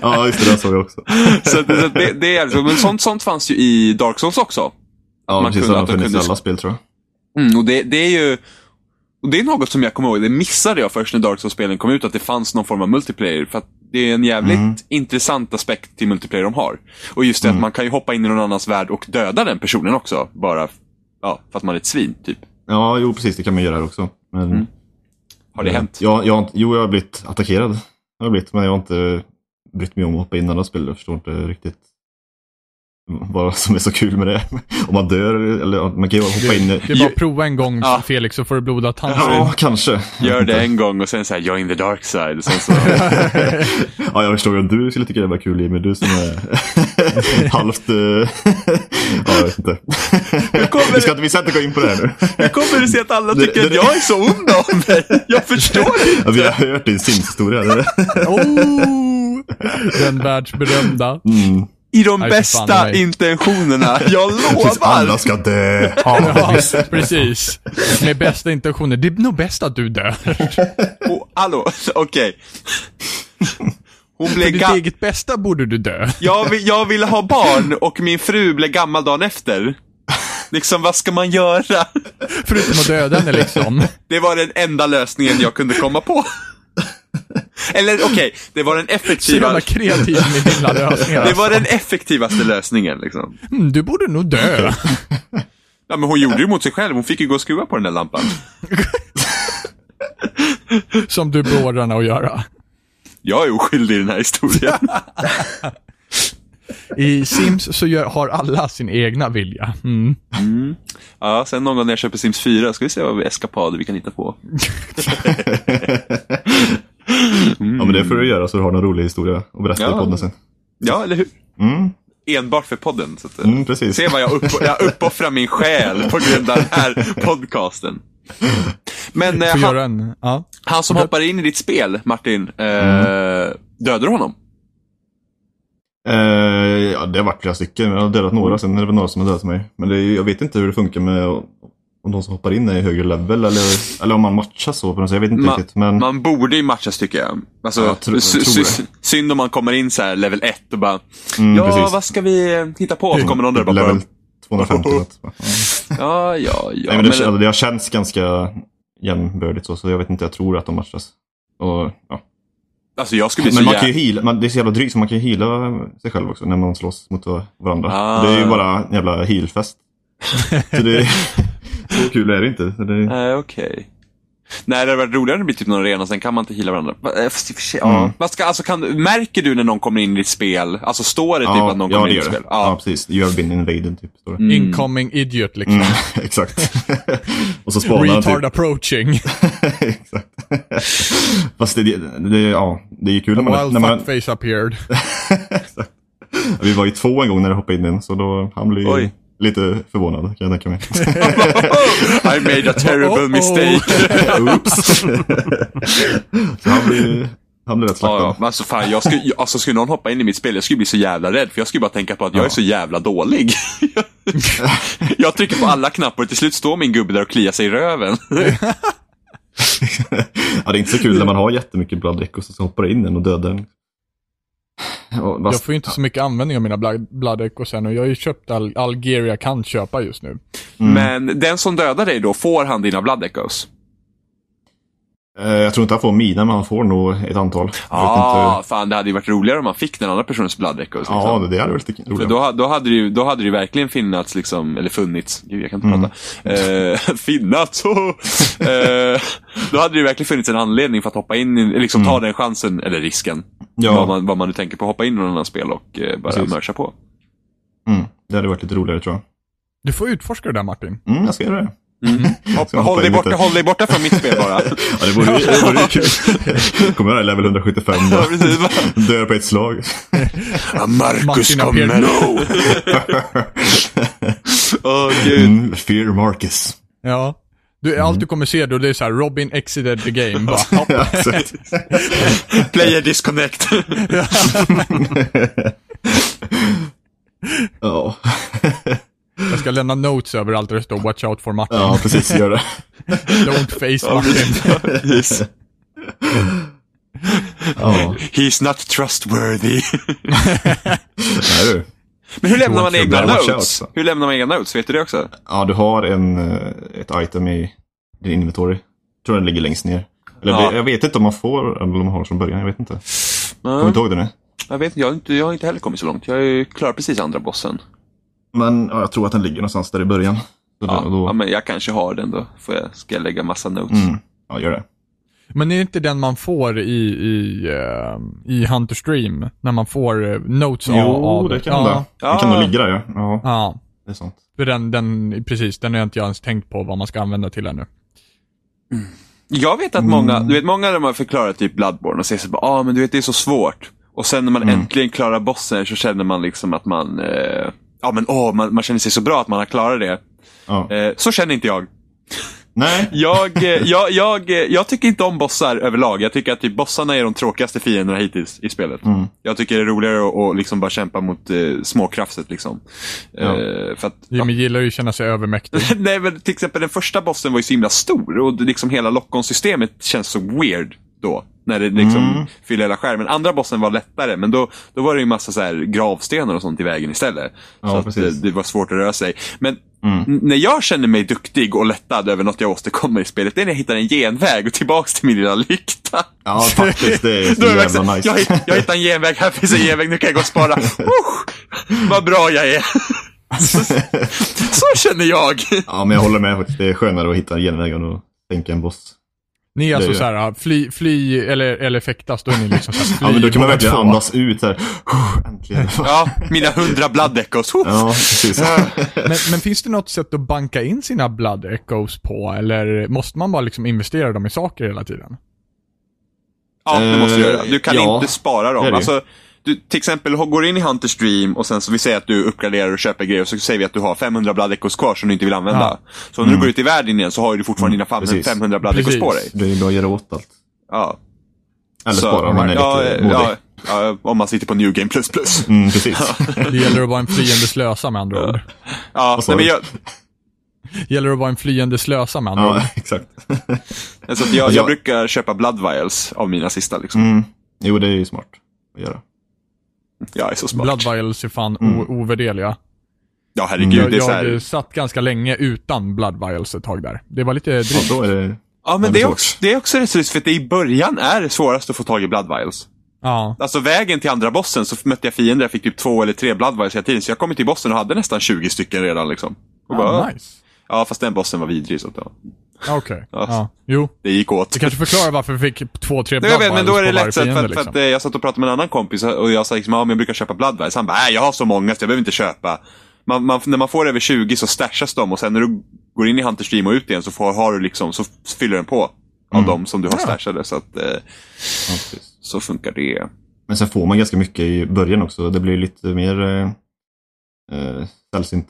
Ja, just det. Det såg jag också.
så, att- så att det, det är jävligt roligt. Men sånt, sånt fanns ju i Dark Souls också.
Ja,
Man
precis.
kunde-
Det har
att de
funnits i
kunde-
alla spel tror jag.
Mm, och det, det är ju och det är något som jag kommer ihåg, det missade jag först när Dark Souls-spelen kom ut, att det fanns någon form av multiplayer. För att det är en jävligt intressant aspekt till multiplayer de har. Och just det att man kan ju hoppa in i någon annans värld och döda den personen också. Bara f- ja, för att man är ett svin, typ.
Ja, jo precis. Det kan man göra här också. Men,
Har det
eh,
hänt?
Ja, jag, har inte- jo, jag har blivit attackerad. Jag har blivit, men jag har inte brytt mig om att hoppa in i andra spel. Jag förstår inte riktigt vad som är så kul med det. om man dör eller- eller man kan ju hoppa in
Det är bara
i...
att prova en gång
Ja.
Felix så får du blodad tand.
Ja, kanske.
Gör det en gång och sen så här, join the dark side. Och sen så,
Ja, jag förstår ju att du skulle tycka det var kul Jimmy. Du som är halvt... eh, ja, jag vet inte.
kommer-
Vi, ska inte, vi ska inte gå in på det här nu.
hur kommer det sig att alla
Det-
tycker att
det-
jag är så ond av mig? Jag förstår inte.
Ja, vi har hört din Sims-historia. det-
oh, den världsberömda.
Mm.
I de
Nej, för fan,
bästa
nej.
intentionerna, jag
Tills alla
lovar.
ska dö.
Ja, precis. Med bästa intentioner. Det är nog bäst att du dör.
Oh, hallå, okej. Hon
För
blev
ditt
ga-
eget bästa borde du dö.
jag, vill, jag ville ha barn och min fru blev gammal dagen efter. Liksom, vad ska man göra?
Förutom att döda henne liksom.
Det var den enda lösningen jag kunde komma på. Eller okej, det var den
Så jävla
effektiva.
alltså. kreativ med dina lösningar.
Det var den effektivaste lösningen liksom.
Mm, du borde nog dö.
Ja, men hon gjorde ju mot sig själv. Hon fick ju gå och skruva på den där lampan.
Som du beordrar henne att göra.
Jag är oskyldig i den här historien.
I Sims så gör, har alla sin egna vilja. Mm.
Ja, sen någon gång när jag köper Sims 4 ska vi se vad vi eskapader vi kan hitta på.
Ja, men det får du göra så du har någon rolig historia att berätta
Ja.
i podden sen.
Ja, eller hur?
Mm,
Enbart för podden. Så att, eh,
mm precis.
Se vad jag, upp, jag uppoffrar min själ på grund av den här podcasten. Men eh,
Får
han,
göra en, ja.
han som hoppar in i ditt spel, Martin, eh,
Mm.
dödar du honom?
Eh, ja, det har varit flera stycken. Jag har dödat några, sen är det väl några som har dödat mig. Men det är, ju- jag vet inte hur det funkar med o- om de som hoppar in är i högre level eller, eller om man matchas så på något sätt. Jag vet inte
Ma-
riktigt. Men
Man borde ju matchas tycker jag. Alltså,
Jag tror- jag
sy-
tror det.
sy- synd om man kommer in så här level 1 och bara,
mm,
ja
precis.
vad ska vi eh, hitta på? Så kommer någon där och bara,
Level 250. eller något. Ja.
ja, ja, ja.
Nej, men
men,
det, alltså, det har känts ganska jämnbördigt så, så jag vet inte. Jag tror att de matchas. Och, ja.
alltså jag skulle bli så
Men man kan
jävla...
ju heala, man, det är så jävla drygt så man kan ju heala sig själv också när man slåss mot varandra.
Ah.
Det är ju bara en jävla
typ
healfest. så det är, så kul är det inte. Så det,
Nej, okej. Nej, det hade varit roligare om det blir typ någon arena, sen kan man inte hila varandra. Va- eh, Fast i och för sig, ja.
Mm.
Vad ska, alltså, kan, märker du när någon kommer in i ditt spel? Alltså står det typ
ja,
att någon
ja,
kommer
det
in i ditt
gör det.
spel?
Ja. precis. You have been invaded, typ. Står det.
Mm.
Incoming idiot liksom.
Mm, exakt. och så spanar han
Retard
typ.
approaching.
exakt. Fast det, det, det, ja, det är ju kul när man...
Wild
När man
fuckface appeared.
exakt. Vi var ju två en gång när det hoppade in en, så då han blev ju
Oj.
lite förvånad kan jag tänka mig.
I made a terrible
Oh, oh.
mistake.
Oops. så han blev, han blev rätt slaktad.
ja, ja. Alltså, fan, jag skulle, jag, alltså, skulle någon hoppa in i mitt spel, jag skulle bli så jävla rädd. För jag skulle bara tänka på att jag
Ja.
är så jävla dålig. jag trycker på alla knappar och till slut står min gubbe där och kliar sig i röven.
Mm. ja, det är inte så kul när man har jättemycket blood echoes och så hoppar det in en och dödar den. Och
Jag
fast,
får ju inte så mycket användning av mina blood, blood echo sen och jag har ju köpt all, all gear jag kan köpa just nu.
Men den som dödar dig då, får han dina blood echoes?
eh, jag tror inte han får mina, men han får nog ett antal.
Ja,
jag vet
ah,
inte.
fan det hade ju varit roligare om man fick den andra personens blood echoes. Liksom.
ja det hade varit lite
För
roligt.
då, ha- då, hade det ju, då hade det ju verkligen finnats, liksom, eller funnits, gud jag kan inte
Mm.
prata. Eh, finnats! eh, då hade det ju verkligen funnits en anledning för att hoppa in, i- liksom ta den chansen, eller risken.
Mm. Ja.
Vad, man, vad man nu tänker på, hoppa in i någon annan spel och eh, bara
Precis.
mörsa på.
Mm, det hade varit lite roligare tror jag.
Du får utforska det där Martin.
Mm, jag ska göra det.
Hopp,
Ska hoppa
håll, dig
in
borta,
lite.
håll dig borta från mitt spel bara.
Ja, det vore ju det vore ju kul. Kommer jag level 175
Ja,
då?
precis.
Dör på ett slag.
Marcus
Martin
kommer
appeared.
no! Åh gud.
Mm, fear Marcus.
Ja. Du,
Mm.
Allt du kommer se då det är så här Robin exited the game. Bara, hopp.
Ja, exakt.
Player disconnect.
Ja.
jag ska lämna notes överallt där det står watch out for Martin.
ja, precis. Gör det.
Don't face Martin.
He's,
Ja,
he's not trustworthy.
det är du.
Men hur lämnar man
Watch
egna
out, watch
notes?
out, så.
Hur lämnar man egna notes? Vet du det också?
Ja, du har en, eh, ett item i din inventory. Jag tror den ligger längst ner. Eller
Ja.
det- jag vet inte om man får eller om man har från början. Jag vet inte. Kommer
Ja,
du inte ihåg det nu?
jag, vet, inte, jag, har inte, jag har inte heller kommit så långt. Jag är klar precis andra bossen.
Men ja, jag tror att den ligger någonstans där i början. Så
Ja,
då, då,
ja, men jag kanske har den då. Får jag, ska jag lägga massa notes?
mm, ja, gör det.
Men är det inte den man får i, i, eh, i Hunter Stream? När man får eh, notes av-
Jo,
av...
det kan
ja.
hända. Den kan
Ja.
nog ligga där, ja. ja.
Ja,
Det är sant.
för den, den, precis. Den har jag inte ens tänkt på vad man ska använda till ännu.
Jag vet att många, du vet många de har förklarat typ Bloodborne och säger så bara, ah, men du vet det är så svårt. Och sen när man äntligen klarar bossen så känner man liksom att man, eh, ja men åh, man, man känner sig så bra att man har klarat det.
Ja.
Eh, så känner inte jag.
Nej,
Jag, eh, jag, jag, eh, jag tycker inte om bossar överlag. Jag tycker att typ bossarna är de tråkigaste fienderna hittills i spelet.
Mm.
Jag tycker det är roligare att, att liksom bara kämpa mot eh, småkrafset. Liksom.
Ja.
Eh, för att,
Jimmy gillar ju att känna sig övermäktig.
Nej, men till exempel den första bossen var ju så himla stor och det liksom hela lock-on-systemet känns så weird då. När det liksom
Mm.
fyller hela skärmen. Andra bossen var lättare, men då, då var det ju massa så här gravstenar och sånt i vägen istället.
Ja,
så att,
precis. Mm.
eh, det var svårt att röra sig. Men n- när jag känner mig duktig och lättad över något jag åstadkommer i spelet, det är när jag hittar en genväg och tillbaks till min lilla lykta.
ja faktiskt. Det är så
Då är det verkligen
jävla
så-
nice.
jag, hitt- jag hittar en genväg, här finns en genväg, nu kan jag gå och spara. Oh, vad bra jag är. Så, så känner jag.
Ja, men jag håller med faktiskt. Det är skönare att hitta genvägen och tänka en boss.
Ni är alltså
Det är-
så här, fly, fly eller, eller fäktas, då är ni liksom så här, fly,
Ja, men då kan man
båda
verkligen
två.
andas ut här. Äntligen.
Ja, mina hundra blood echoes. Huh.
Ja, precis.
Men, men finns det något sätt att banka in sina blood echoes på, eller måste man bara liksom investera dem i saker hela tiden?
Ja, det måste du göra. Du kan
Eh, ja.
inte spara
Det är
dem.
det.
Alltså, du, till exempel, ho- går in i Hunters Dream och sen så vi säger att du uppgraderar och köper grejer och så säger vi att du har 500 blood echoes kvar som du inte vill använda.
Ja.
Så när du går ut i världen igen så har ju du fortfarande dina fam-
Mm. precis.
500 blood echoes
Precis.
på dig.
Det är bra att göra åt allt.
Ja.
Eller
Så-
spara om man är
ja,
lite
eh,
modig.
ja, ja, om man sitter på New Game++.
Mm, precis.
Det gäller att vara en flyende slösa med andra ord.
Ja,
sa
nej, men
du?
jag,
Gäller att vara en flyende slösa med andra ord.
ja, exakt.
alltså, att jag,
Alltså,
jag
jag-
brukar köpa blood vials av mina sista. Liksom.
Mm. Jo, det är ju smart att göra.
Jag är så smart.
Blood vials är fan o- ovärderliga.
Ja, herregud.
Mm, Jag,
Det är så
jag
här...
satt ganska länge utan blood vials ett tag där. Det var lite drygt.
Då är det...
Ja,
det
men
är
det är,
svårt.
också, det är också rätt så- för att det i början är det svårast att få tag i blood vials.
Ja.
Alltså vägen till andra bossen så mötte jag fiender, jag fick typ två eller tre bloodviles hela tiden. Så jag kom till bossen och hade nästan 20 stycken redan liksom. Och bara,
Ah, nice.
Ja, fast den bossen var vidrig. Så att, ja.
Ja, Okej.
Ja.
Ja. Jo.
Det gick åt.
Det kanske förklarar varför vi fick två, tre
Nej, jag vet, men då är det
Bloodwiles på
lätt. Så att,
varje
för, att,
fiende, liksom.
för att, eh, jag satt och pratade med en annan kompis och jag sa liksom, ja, men jag brukar köpa Bloodvice. Han bara, nej jag har så många så jag behöver inte köpa. Man, man, när man får över 20 så stashas de och sen när du går in i Hunter Stream och ut igen så, får, har du liksom, så fyller den på av
Mm.
de som du har stashade. Så, att, eh,
Ja, precis.
så funkar det.
Men sen får man ganska mycket i början också. Det blir lite mer eh, eh, sällsynt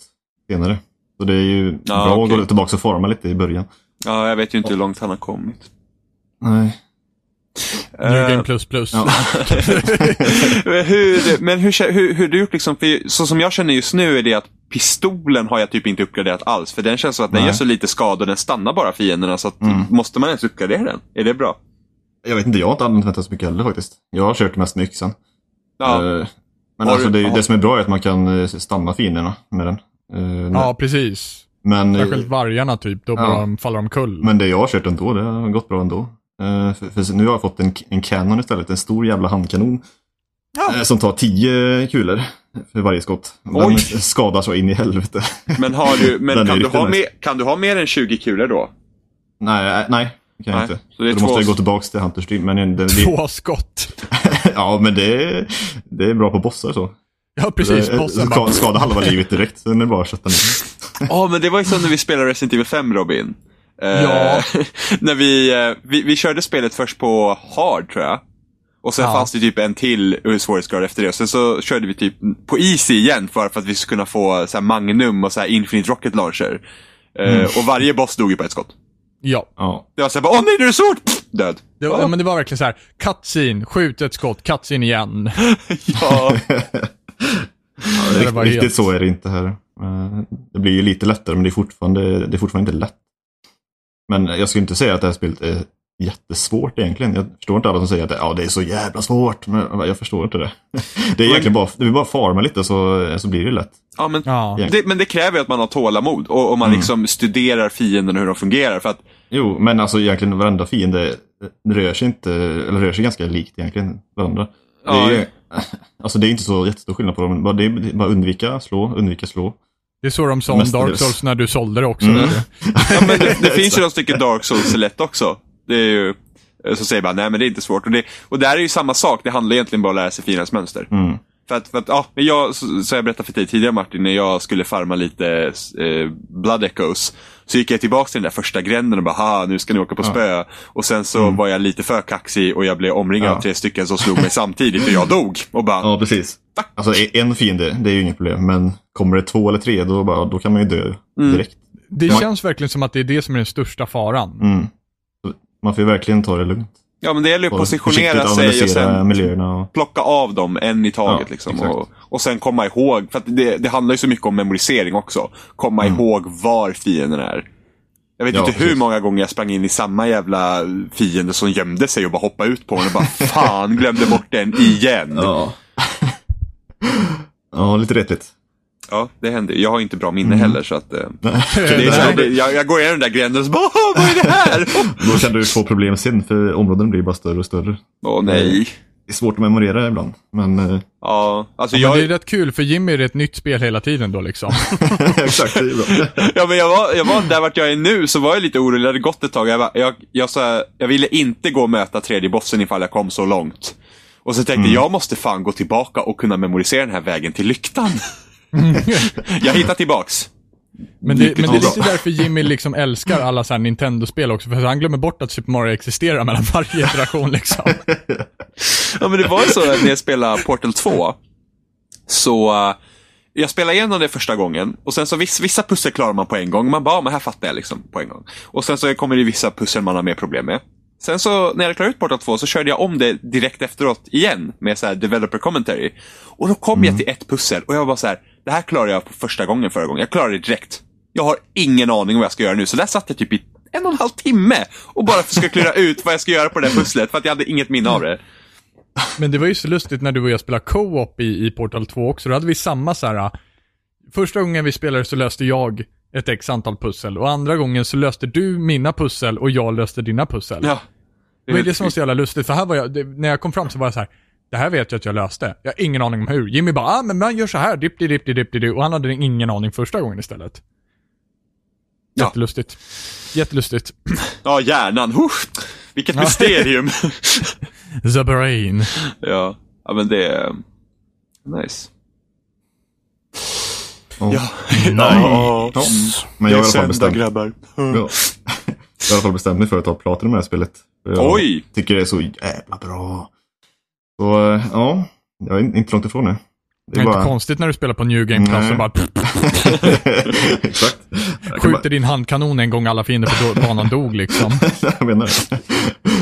senare. Så det är ju
Ja,
bra
okej.
att gå tillbaka och forma lite i början.
Ja, jag vet ju inte hur långt han har kommit.
Nej.
New
Eh,
Game Plus Plus.
Ja.
hur, men hur, kä- hur, hur du gjort liksom, för så som jag känner just nu är det att pistolen har jag typ inte uppgraderat alls. För den känns som att den
Nej.
gör så lite skada och den stannar bara fienderna. Så att,
Mm.
måste man ens uppgradera den? Är det bra?
Jag vet inte, jag har inte använt den så mycket heller faktiskt. Jag har kört mest med yxan.
Ja.
Eh, Men
Har
alltså
du-
det,
ja.
det som är bra är att man kan eh, stanna fienderna med den. Eh,
ja, precis.
Men, eh,
Särskilt vargarna typ, då
Ja.
bara de faller omkull.
men det jag har kört ändå, det har gått bra ändå. Eh, För, för nu har jag fått en, en kanon istället, en stor jävla handkanon.
Ja.
Eh, Som tar 10 kulor för varje skott. Den
Oj.
skadar så in i helvete.
Men, har du, men
Eh,
kan,
Den är
du
riktigt
ha
nice.
mer, kan du ha mer än 20 kulor då?
nej, eh, nej, det kan jag
Nej,
inte.
så det är
då
två-
måste jag gå tillbaka till Hunter Stream. Men den, den,
Två skott.
ja, men det, det är bra på bossar så.
Ja, precis.
Det-
Bossen
ska,
bara...
skada halva livet direkt, sen är det bara att kötta ner.
Ja, men det var ju som när vi spelade Resident Evil 5, Robin. Eh,
Ja.
när vi, eh, vi, vi körde spelet först på hard, tror jag. Och sen
Ja.
fanns det typ en till eh, svårighetsgrad efter det. Och sen så körde vi typ på easy igen för, för att vi skulle kunna få eh, så här Magnum och så här Infinite Rocket Launcher. Eh,
Mm.
Och varje boss dog ju på ett skott.
Ja.
Ja.
Det var såhär, åh nej, nu är det svårt! Pff, Död.
Det var, ja, men det var verkligen så här. cutscene, skjut ett skott, cutscene igen.
Ja,
Det
Rikt,
var
riktigt
helt-
så är det inte här. Eh, Det blir ju lite lättare men det är fortfarande, det är fortfarande inte lätt. Men jag skulle inte säga att det här spelet är jättesvårt egentligen. Jag förstår inte alla som säger att ja, det är så jävla svårt. Men jag förstår inte det. Det är egentligen bara, det är bara att farma lite så, så blir det lätt.
ja men
Ja. Mm.
Det, men det kräver ju att man har tålamod och, och man liksom studerar fienden och hur de fungerar. För att,
Jo, men alltså egentligen varenda fiende rör sig inte, eller rör sig ganska likt egentligen varandra.
Ja.
Det är, alltså det är inte så jättestor skillnad på dem. Bara, det är bara undvika, slå, undvika, slå.
Det är så de sa om Dark
Mestadels.
Souls när du sålde det också.
Mm.
vet du.
ja, men det, det finns ju några stycken Dark Souls lätt också. Det är ju, så säger man, nej men det är inte svårt. Och, det, och där är ju samma sak, det handlar egentligen bara om att lära sig fiendens mönster.
Mm.
För att, för att ja, men jag, så så jag berättade för dig tidigare Martin, när jag skulle farma lite eh, Blood Echoes. Så gick jag tillbaka till den där första gränden och bara, ha nu ska ni åka på spö. Och sen så var jag lite för kaxig och jag blev omringad
Mm. Ja.
av tre stycken som slog mig samtidigt och jag dog. Och bara,
Ja, precis. Alltså e- en fiende, det är ju inget problem. Men kommer det två eller tre, då, bara, då kan man ju dö
Mm.
direkt.
Det
Ja.
känns verkligen som att det är det som är den största faran.
Mm. Så Man får ju verkligen ta det lugnt.
ja men det gäller ju att
Och
positionera
försiktigt
sig och
analysera
sen
miljöerna. Och,
plocka av dem en i taget.
Ja,
liksom,
exakt.
och, och sen komma ihåg, för att det, det handlar ju så mycket om memorisering också. Komma ihåg var fienden är. Jag vet
Ja,
inte hur
precis.
många gånger jag sprang in i samma jävla fiende som gömde sig och bara hoppade ut på honom och bara fan, glömde bort den igen. Ja,
ja. ja, lite retligt.
det hände. Jag har inte bra minne heller så att... eh,
Det
Det är så,
här-
det, jag, jag går igenom den där gränden och så bara, "Åh, vad är det här?
Då kan du få problem sen, för områden blir bara större och större.
Åh nej.
Det är svårt att memorera ibland, men... eh,
Ja, alltså
Men
jag...
det är rätt kul, för Jimmy är ett nytt spel hela tiden då liksom.
Exakt, det är bra.
Ja, men jag var, jag var där vart jag är nu, så var jag lite orolig. Det hade gått ett tag. Jag, bara, jag, jag, sa, jag ville inte gå och möta tredje bossen ifall jag kom så långt. Och så tänkte jag, jag måste fan gå tillbaka och kunna memorisera den här vägen till lyktan. jag hittar tillbaks.
Men det, men det är
Riktigt
lite därför Jimmy liksom älskar alla så här Nintendo-spel också, för han glömmer bort att Super Mario existerar mellan varje generation liksom.
Ja, men det var ju så att när jag spelade Portal 2, så eh, jag spelade igenom det första gången och sen så viss, vissa pussel klarar man på en gång. Man bara, "Ja, men här fattar jag liksom på en gång. Och sen så kommer det vissa pussel man har mer problem med. Sen så när jag klarade ut Portal 2 så körde jag om det direkt efteråt igen med så här developer commentary. Och då kom jag till ett pussel och jag var så här, det här klarade jag på första gången förra gången. Jag klarade det direkt. Jag har ingen aning om vad jag ska göra nu. Så där satt jag typ i en och en halv timme och bara försökte klura ut vad jag ska göra på det där pusslet för att jag hade inget minne av det.
Men det var ju så lustigt när du och jag spelade co-op i, i Portal 2 också. Då hade vi samma så här. äh, Första gången vi spelade så löste jag ett x antal pussel och andra gången så löste du mina pussel och jag löste dina pussel.
Ja.
det var ju det som var så jävla lustigt, för här var jag, det, när jag kom fram så var jag så här. Det här vet jag att jag löste. Jag har ingen aning om hur. Jimmy bara, ah, men man gör så här, dipp, dipp, dipp, dipp, dipp, dipp, och han hade ingen aning första gången istället.
Ja.
Jättelustigt. Jättelustigt.
Ja, hjärnan. Uff, vilket
Ja.
mysterium.
The Brain.
ja. ja, men det är... Nice.
Ja.
Ja.
Ja.
Ja.
Men jag har i alla fall bestämt.
grabbar.
Ja. Jag har i alla fall bestämt mig för att ta platinum i det här spelet. För Jag
Oj!
tycker det är så jävla bra. Så eh, ja, jag är inte långt ifrån nu.
Det är inte konstigt när du spelar på New Game Plus
Nej.
och bara pff,
Exakt. Jag kan bara-
skjuter din handkanon en gång alla fiender för då banan dog liksom.
jag menar det.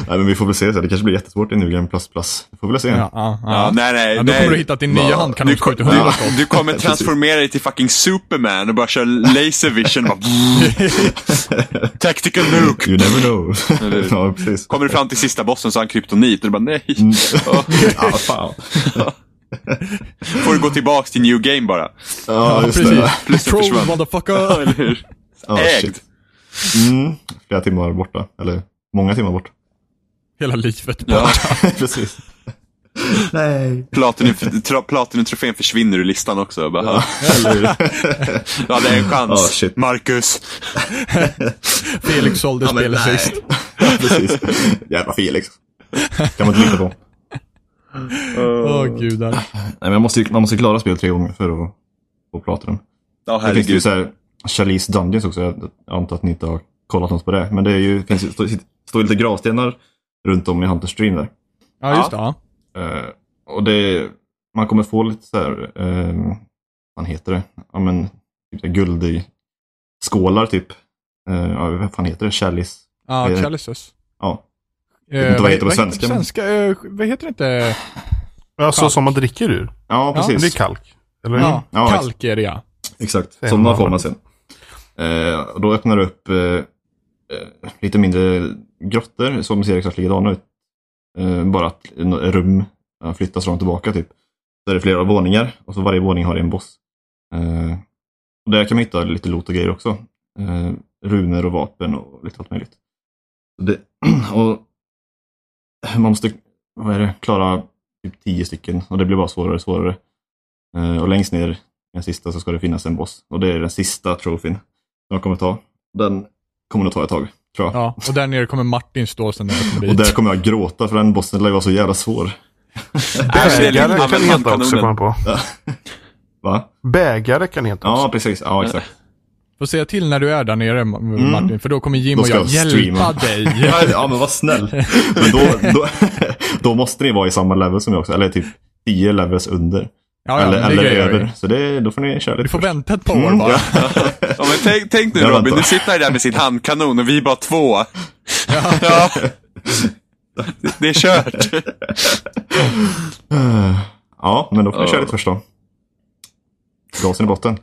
Nej men vi får väl se. Så. här. Det kanske blir jättesvårt i New Game Plus Plus. Vi får väl se.
Ja, ja,
Ja,
ja.
nej, nej,
Ja, då
nej.
kommer du hitta att din nya
Ja.
handkanon skjuter
du,
hundra
du kommer transformera dig till fucking Superman och bara köra laser vision. Bara, Tactical nuke.
You never know.
Eller-
ja, precis.
Kommer du fram till sista bossen så har han kryptonit och du bara nej. Ja,
Ja, fan.
Får du gå tillbaks till new game bara.
Ja, just det.
precis.
Plötsligt
Troll
försvann.
motherfucker.
Eller hur?
Ja,
Ägd.
shit. Mm. Flera timmar borta. Eller många timmar borta.
Hela livet.
Ja.
precis. Nej.
Platinum- tra- Platinum-trofén försvinner ur listan också. Bara, ja.
Eller hur?
Du hade en chans,
Ah,
Ja, shit.
Marcus.
Felix sålde spelet sist.
precis. Jävla Felix. Kan man inte lita på.
Åh
Oh.
gudar.
Nej, men man måste, ju- man måste klara spel tre gånger för att få platinum.
Ja,
Det finns ju
herregud.
så här Charlies Dungeons också. Jag antar att ni inte har kollat något på det. Men det är ju, finns, ju- står står ju lite gravstenar runt om i Hunter Stream där.
Ja, just det. Ja.
Eh, och det, man kommer få lite så här, eh, vad fan heter det? Ja men, typ så här guld i skålar typ. Eh, ja, vad fan heter det? Chalice?
Ja,
Eh,
Chalices.
Ja,
Eh,
vet inte vad det heter på
det
svenska, men- Mm.
svenska? Eh, vad heter det inte?
Ja, så
Kalk.
Alltså, som man dricker ur.
ja
Ja,
Men
precis.
det är kalk. Eller?
Ja,
Ja,
kalk är det ja.
Exakt,
Sen
sådana
har-
får man sen. Eh, och då öppnar det upp eh, eh, lite mindre grottor som ser exakt likadana ut. Eh, bara att en- rum eh, flyttas fram och tillbaka typ. Så är det flera våningar och så varje våning har en boss. Eh, och där kan man hitta lite loot och grejer också. Eh, runor och vapen och lite allt möjligt. Så Det, och man måste vad är det, klara typ 10 stycken och det blir bara svårare och svårare. Eh, och längst ner den sista så ska det finnas en boss. Och det är den sista trofin som jag kommer ta. Den kommer nog ta ett tag, tror jag.
ja. Och där nere kommer Martin stå sen när jag kommer
Och där
dit.
kommer jag gråta för den bossen lär ju vara så jävla svår.
Alltså, det är lite-
Bägare kan
använd
heta också, kom
handkanonen.
jag på.
Va?
Bägare kan heta också.
Ja, precis. Ja, exakt.
Får säga till när du är där nere Ma- Martin, för då kommer Jim
Mm. Då
och
ska
jag
jag
hjälpa
streama.
dig.
Ja, ja men vad snäll. Men då, då, då måste ni vara i samma level som jag också. Eller typ 10 levels under.
Ja, ja,
eller
det
eller
grejer jag ju.
över. Så det, då får ni köra lite.
Du får
först. Mm,
vänta ett par år bara.
ja.
Ja, men tänk, tänk nu
Jag
Robin,
väntar.
du sitter här där med sin handkanon och vi är bara två. Ja. Det är kört.
ja, men då får ni köra
Ja.
lite först då. Gasen i botten.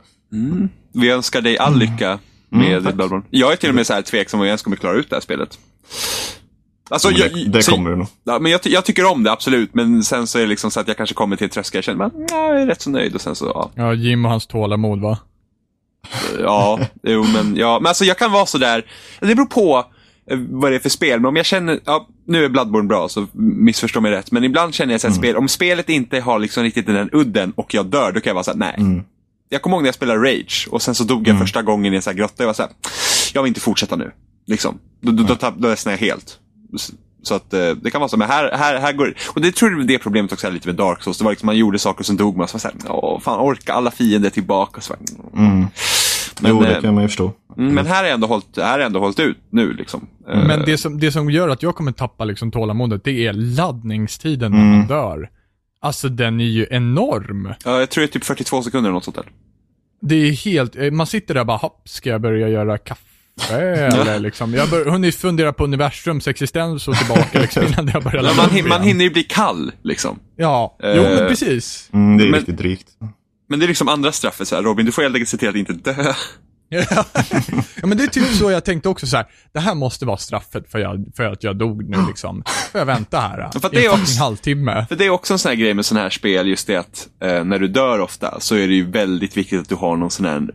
Vi önskar dig all lycka med
Mm. tack.
Bloodborne. Jag är till och med så här tveksam om jag ens kommer klara ut det här spelet. Alltså,
Men
jag,
det, det
så-
kommer det nog.
Ja, men jag, ty- jag tycker om det, absolut. Men sen så är det liksom så att jag kanske kommer till en tröskel. Jag känner att jag är rätt så nöjd. Och sen så, ja.
Ja, Jim och hans tålamod va?
Ja, jo, men, ja. men alltså, jag kan vara sådär. Det beror på eh, vad det är för spel. Men om jag känner, ja, nu är Bloodborne bra så missförstå mig rätt. Men ibland känner jag så här, spel, om spelet inte har liksom riktigt den där udden och jag dör, då kan jag vara såhär, nej. Jag kommer ihåg när jag spelade Rage och sen så dog jag första gången i en sån här grotta. Jag var såhär, jag vill inte fortsätta nu. Liksom. Då, då, då, tapp- då ledsnar jag helt. S- Så att eh, det kan vara så, men här, här, här går det. Och det tror jag är det problemet också är lite med Dark Souls. Det var liksom, man gjorde saker och sen dog man. Så var det så här, åh, fan orka alla fiender tillbaka. Och så bara, Men,
Mm. jo, det
eh,
kan man ju förstå.
Mm, men här har jag ändå hållit, här har jag ändå hållit ut nu. Liksom. Eh,
Men det som, det som gör att jag kommer tappa liksom tålamodet, det är laddningstiden när
Mm.
man dör. Alltså den är ju enorm.
ja, jag tror det är typ 42 sekunder eller något sånt där.
Det är helt, eh, man sitter där och bara, hopp, ska jag börja göra kaffe eller liksom. Jag har hunnit fundera på universums existens och tillbaka liksom innan jag börjar
Ja,
ladda
man,
upp
hin- man
igen.
hinner ju bli kall. Liksom.
Ja, jo men
Eh,
precis.
Mm, det är
Men-
riktigt drygt.
Men det är liksom andra straffet. Så här, Robin, du får helt enkelt se till att inte dö.
ja men det är typ så jag tänkte också så här. det här måste vara straffet för, jag, för att jag dog nu liksom. Får jag vänta här eh,
För att
i
det är
en
också-
fucking halvtimme?
För det är också en sån här grej med sån här spel, just det att eh, när du dör ofta så är det ju väldigt viktigt att du har någon sån Mm. här,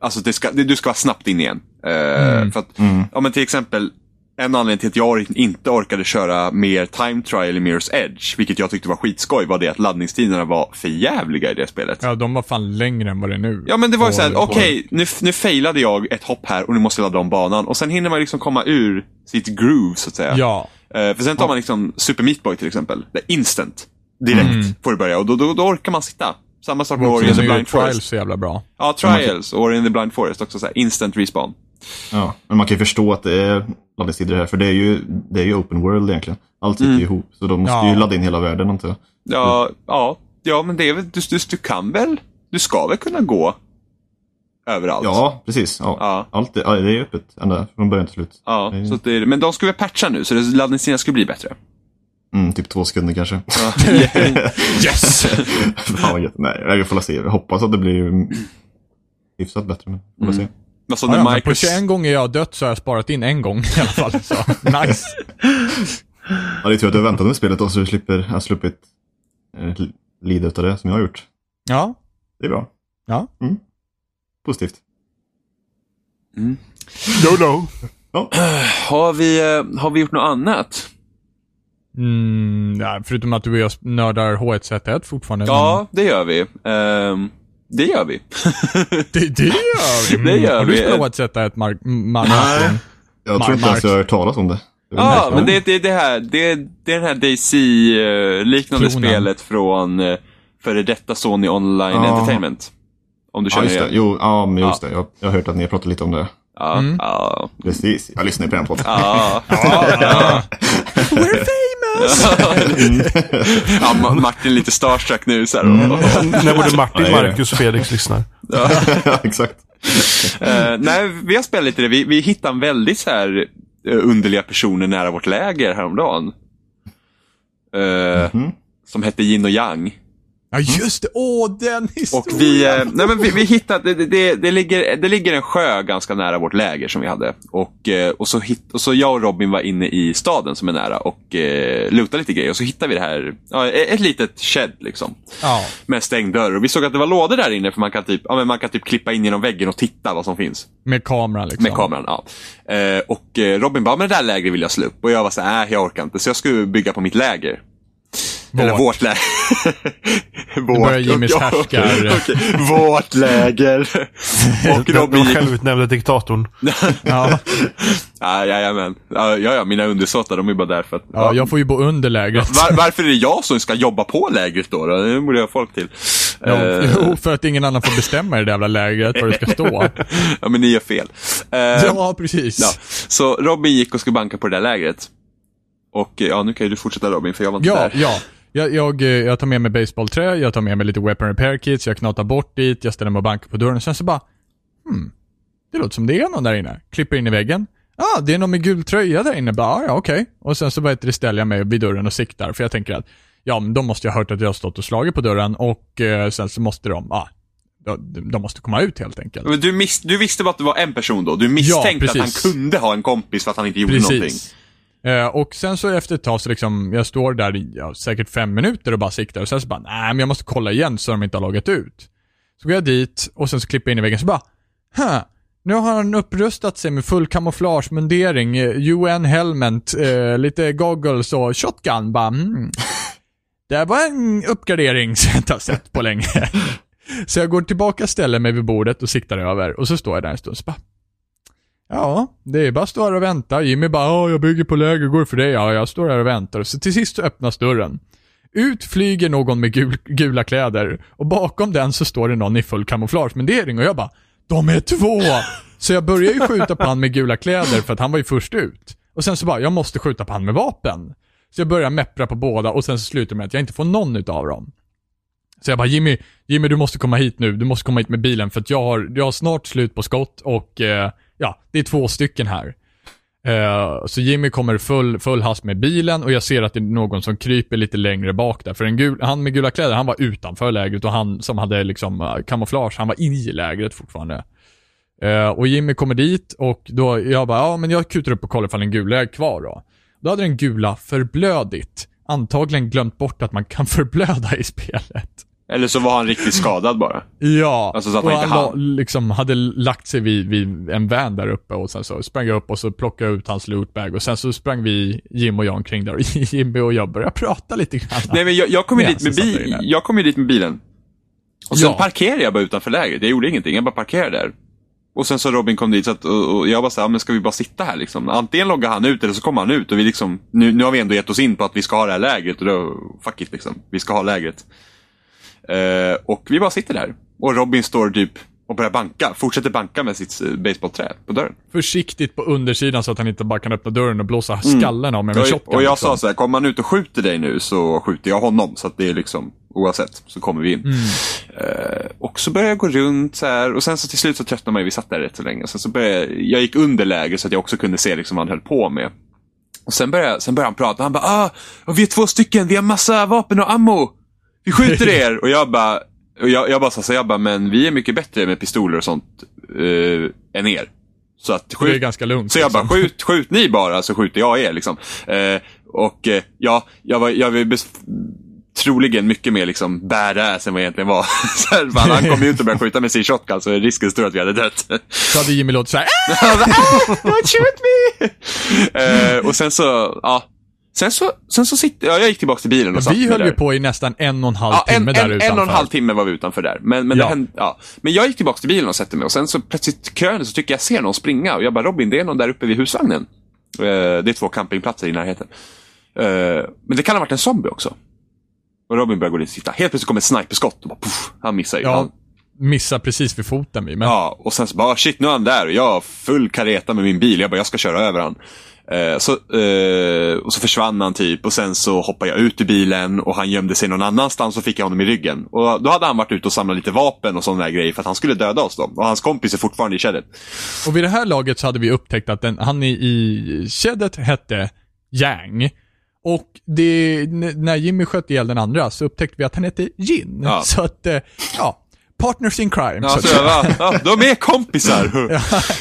alltså det ska, det, du ska vara snabbt in igen. Eh, För att, ja men till exempel, en anledning till att jag or- inte orkade köra mer time trial i Mirror's Edge, vilket jag tyckte var skitskoj, var det att laddningstiderna var för jävliga i det spelet.
Ja, de var fan längre än vad det är nu.
Ja men det var ju
På-
såhär,
på-
okej nu, nu failade jag ett hopp här och nu måste jag ladda om banan. Och sen hinner man liksom komma ur sitt groove så att säga.
Ja.
Eh, för sen tar man liksom Super Meat Boy till exempel. Där instant. Direkt
Mm.
får du börja och då, då, då orkar man sitta. Samma sak med Ori
Sen
and the
är ju
Blind
Trials
Forest.
så jävla bra.
Ja, Trials och Ori and the Blind Forest också såhär, instant respawn.
Ja, men man kan ju förstå att det är laddningstider här, för det är ju, det är ju open world egentligen. Allt
Mm.
sitter ju ihop, så de måste
Ja.
ju ladda in hela världen antar jag.
Ja,
Mm.
ja, ja men det är väl, du, du, du kan väl, du ska väl kunna gå överallt?
Ja, precis. Ja.
Ja.
Allt är, ja, det är ju öppet ända från början till slut.
Ja,
Mm.
så att det är, men de skulle väl patcha nu så det- laddningstiderna skulle bli bättre.
Mm, typ två sekunder kanske.
Ja. yes!
Fan vad gött. Nej, jag får la se. Jag hoppas att det blir hyfsat bättre. Men får la se.
Alltså,
Ja,
när
ja, men på
Microsoft-
21 gånger jag har dött så har jag sparat in en gång i alla fall. Så. Nice.
Ja, det är tur att du har väntat med spelet då, så du slipper, har sluppit eh, lida utav det som jag har gjort.
Ja.
Det är bra.
Ja.
Mm. Positivt.
No, no.
Har vi, eh, har vi gjort något annat?
Mm, nej, förutom att du och jag nördar H1Z1 fortfarande.
Ja, det gör vi. Ehm, det gör vi.
Det, det gör vi. Mm.
Det gör
Har du
vi.
spelat H1Z1 Mark? Mark
Nej. Jag tror inte ens
Mark-
jag
Mark.
har hört talas om det. Jag vet inte
Ja,
ens vad
men
det är.
det, det, det här, det, det är den här DC-liknande
Klonen.
spelet från eh, före detta Sony Online
Ja.
Entertainment. Om du
Ja,
känner
just det.
igen.
Jo, ja, men just det. Jag, jag har hört att ni har pratat lite om det.
Ja, ja,
Precis. Jag lyssnar ju på den podden.
ja.
We're famous!
Mm.
Ja, Ma- Martin är lite starstruck nu. Så här.
När både Martin,
Nej, det är det.
Marcus och Felix lyssnar.
Ja, Exakt.
Eh, nej, vi har spelat lite det. Vi, vi hittade en väldigt så här eh, underliga personer nära vårt läger häromdagen. Eh, Som hette Yin och Yang.
Ja, just det. Åh, den
Och
historien.
vi, eh, nej men vi, vi hittade, det, det, det, ligger, det ligger en sjö ganska nära vårt läger som vi hade. Och, eh, och, så, hit, och så jag och Robin var inne i staden som är nära och eh, lutade lite grejer. Och så hittade vi det här, ja, e- ett litet shed liksom.
Ja.
Med stängd dörr. Och vi såg att det var lådor där inne för man kan typ, ja, men man kan typ klippa in genom väggen och titta vad som finns.
Med kameran liksom.
Med kameran, ja. Eh, och eh, Robin bara, men det där lägret vill jag slå upp. Och jag var så här, nej jag orkar inte. Så jag skulle bygga på mitt läger. Eller vårt läger. vårt.
börjar Jimmys
Ja,
härskar-
okej. Vårt läger. och
Den,
Robin
den
gick...
självutnämnde diktatorn.
Ja.
Ah, jajamän. Ja, ja, ja, mina undersåtar, de är bara där för att...
ja, jag får ju bo under lägret.
Var, varför är det jag som ska jobba på lägret då? då? Det borde jag ha folk till.
Ja,
Eh,
Jo, för att ingen annan får bestämma i det där jävla lägret var det ska stå.
ja, men ni gör fel. Eh,
Ja, precis.
ja. Så Robin gick och skulle banka på det där lägret. Och eh, ja, nu kan ju du fortsätta Robin, för jag var inte
Ja,
där.
ja. Jag, jag, eh, jag tar med mig baseballträ, jag tar med mig lite weapon repair kits, jag knatar bort dit, jag ställer mig och bankar på dörren. Sen så bara, hmm, det låter som det är någon där inne. Klipper in i väggen. Ah, det är någon med gul tröja där inne. Bara, ah, ja, okej. Och sen så bara det ställer jag mig vid dörren och siktar, för jag tänker att, ja, men de måste ju ha hört att jag har stått och slagit på dörren och eh, sen så måste de, ah, de, de måste komma ut helt enkelt.
Men du, miss, du visste bara att det var en person då? Du misstänkte att han
precis.
kunde ha en kompis för att han inte gjorde någonting?
Eh, och sen så efter ett tag så liksom, jag står där i ja, säkert fem minuter och bara siktar och sen så bara, nej men jag måste kolla igen så de inte har loggat ut. Så går jag dit och sen så klipper jag in i väggen så bara, huh, nu har han upprustat sig med full kamouflagemundering, eh, UN helmet, eh, lite goggles och shotgun. Bara, mm. Det här var en uppgradering som jag inte har sett på länge. Så jag går tillbaka, ställer mig vid bordet och siktar över och så står jag där en stund så bara, Ja, det är bara att stå här och vänta. Jimmy bara "Ja, jag bygger på läger, går det för dig?” Ja, jag står här och väntar. Så till sist så öppnas dörren. Ut flyger någon med gul, gula kläder och bakom den så står det någon i full kamouflagemundering och jag bara “De är två!” Så jag börjar ju skjuta på han med gula kläder för att han var ju först ut. Och sen så bara “Jag måste skjuta på han med vapen”. Så jag börjar meppra på båda och sen så slutar det med att jag inte får någon utav dem. Så jag bara Jimmy, Jimmy du måste komma hit nu. Du måste komma hit med bilen för att jag har, jag har snart slut på skott och eh, ja, det är två stycken här. Eh, så Jimmy kommer full, full hast med bilen och jag ser att det är någon som kryper lite längre bak där. För en gul, han med gula kläder, han var utanför lägret och han som hade liksom eh, kamouflage, han var i lägret fortfarande. Eh, och Jimmy kommer dit och då, jag bara, ja men jag kutar upp och kollar ifall den gula är kvar då. Då hade den gula förblödit. Antagligen glömt bort att man kan förblöda i spelet.
Eller så var han riktigt skadad bara.
Ja,
Alltså så att
och
man
han
inte
la,
hann.
liksom hade lagt sig vid, vid en van där uppe och sen så sprang jag upp och så plockade jag ut hans lootbag och sen så sprang vi, Jim och jag, omkring där och Jimmy och jag började prata lite grann.
Nej, men jag, jag, kom ju
Ja,
dit med
så satte jag in
bi-
här.
jag kom ju dit med bilen. Och sen
Ja.
parkerade jag bara utanför lägret. Jag gjorde ingenting. Jag bara parkerade där. Och sen så Robin kom dit så att, och, och jag bara så här, "Ja, men ska vi bara sitta här liksom? Antingen loggar han ut eller så kommer han ut. Och vi liksom, nu, nu har vi ändå gett oss in på att vi ska ha det här lägret. Och då, fuck it liksom. Vi ska ha lägret. Eh, och vi bara sitter där. Och Robin står typ och börjar banka. Fortsätter banka med sitt eh, baseballträ på dörren.
Försiktigt på undersidan så att han inte bara kan öppna dörren och blåsa skallen av mig med
Mm. Och,
shotgun.
och jag
liksom.
sa så här, kommer han ut och skjuter dig nu så skjuter jag honom. Så att det är liksom, oavsett, så kommer vi in.
Mm.
Eh, och så började jag gå runt så här och sen så till slut så tröttnade man ju, vi satt där rätt så länge. Sen så började jag, jag gick under läger så att jag också kunde se liksom vad han höll på med. Och sen började, sen började han prata, han bara ah, och vi är två stycken, vi har massa vapen och ammo. Vi skjuter er! och jag bara, och jag, jag bara sa så här, jag bara, men vi är mycket bättre med pistoler och sånt eh, än er. Så att
det är
skjut,
ganska lugnt.
så jag bara,
liksom.
skjut, skjut ni bara så skjuter jag er. Liksom. Eh, och eh, ja, jag var, jag var bes- troligen mycket mer liksom badass än vad jag egentligen var. så här, bara, han kom ju ut och började skjuta med sin shotgun så är risken stor att vi hade dött.
Så hade Jimmy låtit såhär, "Ah!"
Han bara, ah, don't shoot me! eh, och sen så, ja. Sen så, sen så sitter, ja, jag gick tillbaka till bilen och satte
"Äh, Vi
mig
höll
där.
ju på i nästan en och en halv
Ja, en,
timme där
en,
utanför.
en och en halv timme var vi utanför där. Men, men,
Ja.
det hände, ja. men jag gick tillbaka till bilen och sätter mig och sen så plötsligt krön så tycker jag ser någon springa och jag bara Robin, det är någon där uppe vid husvagnen. Eh, det är två campingplatser i närheten. Eh, men det kan ha varit en zombie också. Och Robin börjar gå dit och titta. Helt plötsligt kommer ett sniperskott och bara, puff, han missar ju. Han,
Ja, missade precis vid foten vi, men
Ja, och sen så bara "Ah, shit, nu är han där och jag har full kareta med min bil. Jag bara, jag ska köra över han. Eh, så, eh, och så försvann han typ och sen så hoppade jag ut ur bilen och han gömde sig någon annanstans och fick jag honom i ryggen. Och då hade han varit ute och samlat lite vapen och sådana där grejer för att han skulle döda oss då. Och hans kompis är fortfarande i kedjet.
Och vid det här laget så hade vi upptäckt att den, han i, i kedjet hette Yang. Och det, n- när Jimmy sköt ihjäl den andra så upptäckte vi att han hette Jin.
Ja.
Så att, eh, ja. Partners in crime.
Ja,
så
så
att,
jag bara, ja, de är kompisar!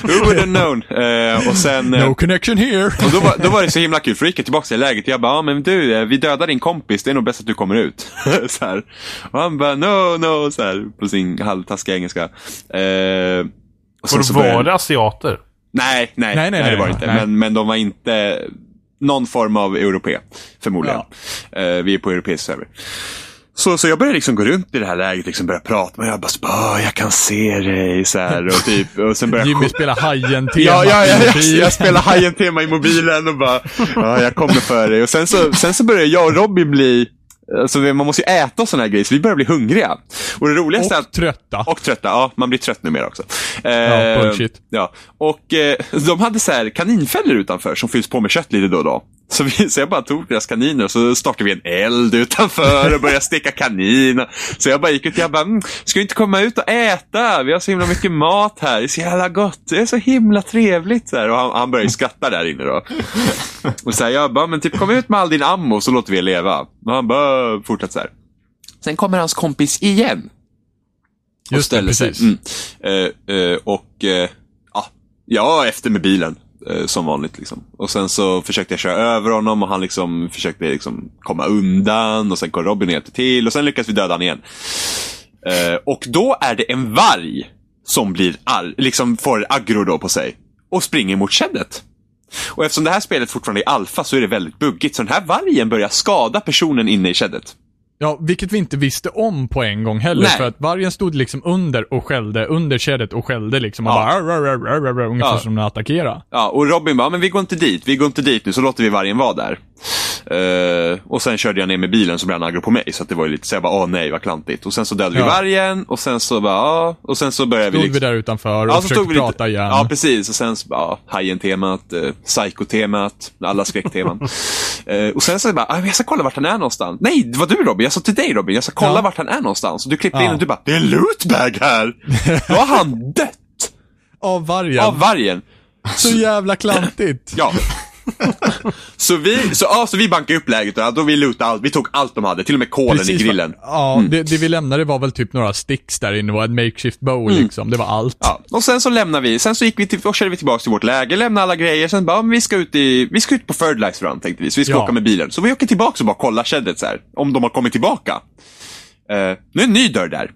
Who would have known? Eh, och sen... eh,
no connection here.
Och då, var, då var det så himla kul, för då gick jag tillbaka till läget. Jag bara, ja men du, eh, vi dödar din kompis, det är nog bäst att du kommer ut. så här. Och han bara, no, no, så här, på sin halvtaskiga engelska. Eh, och sen
Och
så
då var
började-
det asiater.
Nej, nej,
Nej, nej,
nej,
nej,
det var det inte.
nej.
Men, men de var inte någon form av europé, förmodligen. Eh, vi är på europeisk server. Så, så jag började liksom gå runt i det här läget, liksom börja prata med Jag bara, så bara, "Åh, jag kan se dig. Så här, och, typ, och sen började jag
Jimmy spelar hajen-tema.
Ja, ja, ja, jag,
Jimmy.
jag spelar Hajen tema i mobilen och bara, ja, jag kommer för dig. Och sen så, sen så börjar jag och Robin bli, alltså man måste ju äta och såna här grejer, så vi börjar bli hungriga. Och det roligaste är
Och
att
trötta.
och trötta, ja man blir trött numera också. Eh,
Ja, bullshit.
Ja. Och eh, de hade så här kaninfällor utanför som fylls på med kött lite då och då. Så, vi, så jag bara tog deras kaniner och så startade vi en eld utanför och började steka kanin. Så jag bara gick ut och jag bara, mm, ska vi inte komma ut och äta? Vi har så himla mycket mat här. Det är så jävla gott. Det är så himla trevligt. Så här. Och han, han började ju skratta där inne då. Och så här, jag bara, men typ kom ut med all din ammo så låter vi er leva. Och han bara, fortsatt så här. Sen kommer hans kompis igen och
Just det,
ställer sig.
precis.
Mm. Eh, eh, och eh, ja, jag är efter med bilen. eh, Som vanligt. Liksom. Och Sen så försökte jag köra över honom och han liksom försökte liksom komma undan. Och Sen kom Robin och hjälpte till och sen lyckades vi döda honom igen. Eh, och då är det en varg som blir arg, liksom får aggro då på sig och springer mot keddet. Och eftersom det här spelet fortfarande är alfa så är det väldigt buggigt. Så den här vargen börjar skada personen inne i keddet.
Ja, vilket vi inte visste om på en gång heller.
Nej.
För att vargen stod liksom under och skällde, under kedjet och skällde liksom. Och
Ja.
bara, "Arr, arr, arr, arr, arr", ungefär
Ja.
som när attackera.
Ja, och Robin bara, men vi går inte dit, vi går inte dit nu, så låter vi vargen vara där. Eh, och sen körde jag ner med bilen så blev han aggro på mig. Så att det var ju lite så jag bara, åh nej vad klantigt. Och sen så dödade
Ja.
vi vargen och sen så bara, ja. Och sen så började
Stod
vi
vi
liksom...
där utanför och
Ja, så
försökte
stod vi lite-
prata igen.
Ja, precis. Och sen så bara, ja, hajen-temat, eh, psykotemat, alla skräckteman. eh, och sen så bara, "Ah, men jag ska kolla vart han är någonstans. Nej, det var du Robin. Jag sa till dig Robin, jag ska kolla
Ja.
vart han är någonstans. Och du klippte
Ja.
in och du bara, det är en lootbag här! Då har han dött
Av vargen.
av vargen.
Så jävla klantigt.
Ja. så, vi, så, ja, så vi bankade upp läget och då vi lootade allt. Vi tog allt de hade, till och med kolen i grillen. Mm.
va- Ja, det, det vi lämnade var väl typ några sticks där inne och en makeshift bow liksom. Det var allt.
Mm. Ja. Och sen så lämnade vi. Sen så gick vi till, och körde vi tillbaka till vårt läger, lämnade alla grejer. Sen bara, ja, men vi ska ut, i, vi ska ut på Third Life Run tänkte vi. Så vi ska
Ja.
åka med bilen. Så vi åker tillbaka och bara kollar sheddet så här. Om de har kommit tillbaka. Eh, nu är en ny dörr där.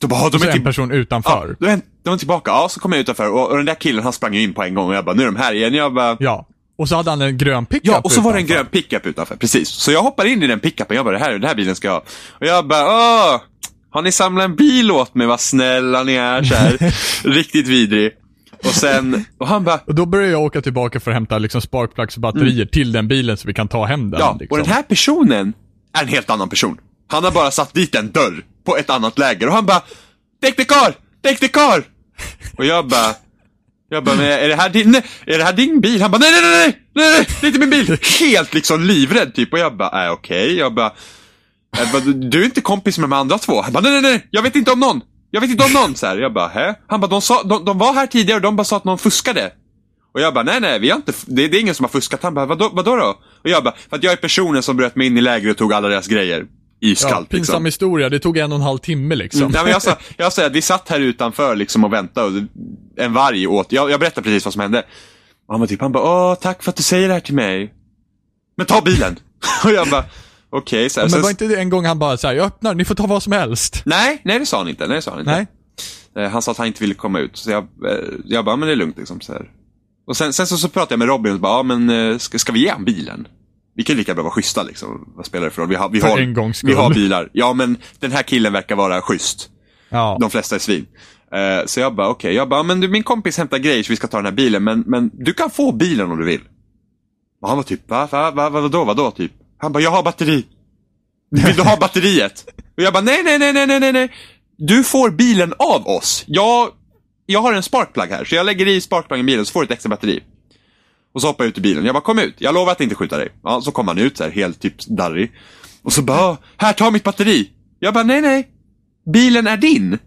Då bara, "Ah,
Och
de
så
är
en
till...
person
Ja,
utanför.
då är de är tillbaka. Ja, så kom jag utanför och, och den där killen han sprang ju in på en gång och jag bara, nu är de här igen. Jag bara,
Ja. Och så hade han en grön pickup
Ja, och så var det en
utanför.
grön pickup utanför. Precis. Så jag hoppar in i den pickupen. Jag bara, det här, den här bilen ska jag ha. Och jag bara, åh! Har ni samlat en bil åt mig? Vad snälla ni är. Så här. Riktigt vidrig. Och sen, och han bara,
Och då började jag åka tillbaka för att hämta liksom sparkplugs och batterier till den bilen så vi kan ta hem den.
Mm. ja.
liksom.
Och den här personen är en helt annan person. Han har bara satt dit en dörr på ett annat läger. Och han bara, take the car! Take the car! Och jag bara, jag bara, men är det här din, nej, är det här din bil? Han bara, nej, nej, nej, nej, nej, nej, det är inte min bil. Helt liksom livrädd typ. Och jag bara, äh, okej. Jag bara, Jag bara, Eh, du är inte kompis med de andra två. Han bara, nej, nej, nej, jag vet inte om någon. Jag vet inte om någon. Så här. Jag bara, hä? Han bara, de, sa, de, de var här tidigare och de bara sa att någon fuskade. Och jag bara, nej, nej, vi har inte, f- det, det är ingen som har fuskat. Han bara, vadå, vadå då? Och jag bara, för att jag är personen som bröt mig in i lägret och tog alla deras grejer.
Ja,
Iskallt
pinsam
liksom. Mm.
historia. Det tog en och en halv timme liksom.
Nej, men jag, sa, jag sa att vi satt här utanför liksom och väntade. Och en varg åt. Jag, jag berättade precis vad som hände. Och han var typ, han bara, åh tack för att du säger det här till mig. Men ta bilen! och jag bara, okej. så här.
Men
Sen-
var inte det en gång han bara såhär, jag öppnar, ni får ta vad som helst.
Nej, nej det sa han inte. Nej, det sa han inte.
Nej.
Eh, Han sa att han inte ville komma ut. Så jag, eh, jag bara, men det är lugnt liksom. Så här. Och sen, sen så, så pratade jag med Robin och bara, ja, men eh, ska, ska vi ge han bilen? Vi kan ju lika bra vara schyssta liksom. Vad spelar det för roll? Vi har, vi
För
har,
en gångs skull.
vi har bilar. Ja, men den här killen verkar vara schysst.
Ja.
De flesta är svin. Eh, Så jag bara, okej. Jag bara, men du, min kompis hämtar grejer så vi ska ta den här bilen. Men, men du kan få bilen om du vill. Och han var typ, va, va, va, va, vadå, vadå, typ. Han bara, jag har batteri. Vill du ha batteriet? Och jag bara, nej, nej, nej, nej, nej, nej, nej. Du får bilen av oss. Jag, jag har en sparkplug här, så jag lägger i sparkpluggen i bilen så får du ett extra batteri. Och så hoppar jag ut ur bilen. Jag bara, kom ut. Jag lovar att inte skjuta dig. Ja, så kom han ut så här, helt typ darrig. Och så bara, här, ta mitt batteri. Jag bara, nej, nej. Bilen är din.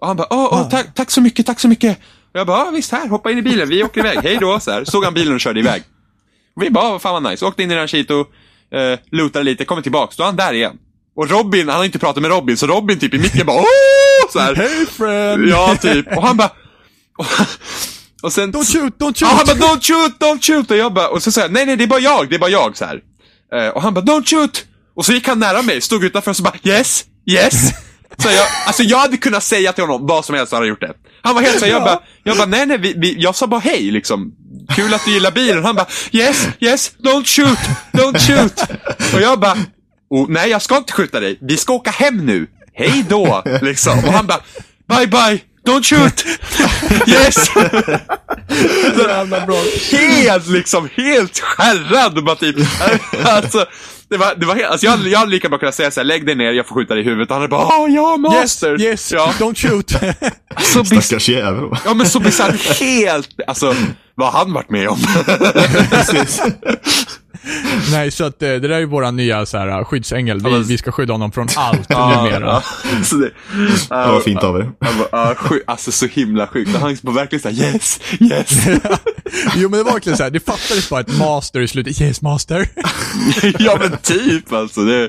Och han bara, åh, åh, tack, tack så mycket, tack så mycket. Och jag bara, ja, visst här, hoppa in i bilen, vi åker iväg, hej då. Så här, såg han bilen och körde iväg. Och vi bara, "Ah, vad fan vad nice. Åkte in i Ranchito, eh, lutade lite, kommer tillbaks, då är han där igen. Och Robin, han har inte pratat med Robin, så Robin typ i micken bara, åh! Så här.
Hey friend!
Ja, typ. Och han bara, och, och sen...
Don't shoot, don't
Ja,
shoot!
han bara don't shoot, don't shoot. Och jag bara, och så säger jag nej, nej, det är bara jag, det är bara jag så här. Eh, och han bara don't shoot. Och så gick han nära mig, stod utanför och så bara yes, yes. Så jag, alltså jag hade kunnat säga till honom vad som helst så hade han gjort det. Han var helt så här, jag bara, jag bara nej, nej, vi, vi, jag sa bara hej liksom. Kul att du gillar bilen. Han bara yes, yes, don't shoot, don't shoot. Och jag bara, oh, nej jag ska inte skjuta dig, vi ska åka hem nu. Hej då, liksom. Och han bara, bye bye, don't shoot, yes.
Så jävla bra.
helt liksom, helt skärrad. Bara typ. alltså, det var, det var helt, alltså jag, hade- jag hade lika bra kunnat säga såhär, lägg dig ner, jag får skjuta dig i huvudet. Han hade bara, ah ja,
Yes,
master.
yes,
Ja,
don't shoot.
så bis-
Stackars jävel. va?
ja men så blir han helt, alltså, vad har han varit med om?
Precis.
Nej, så att eh, det där är ju våran nya så här, eh, skyddsängel. Vi,
men-
vi ska skydda honom från allt
Ja,
numera.
så det,
Ja, vad fint av er.
Han bara, ah, sjuk- alltså så himla sjukt. Han var verkligen såhär, yes, yes.
Jo men det var verkligen så här, det fattades bara ett master i slutet. Yes master.
ja men typ alltså. Det,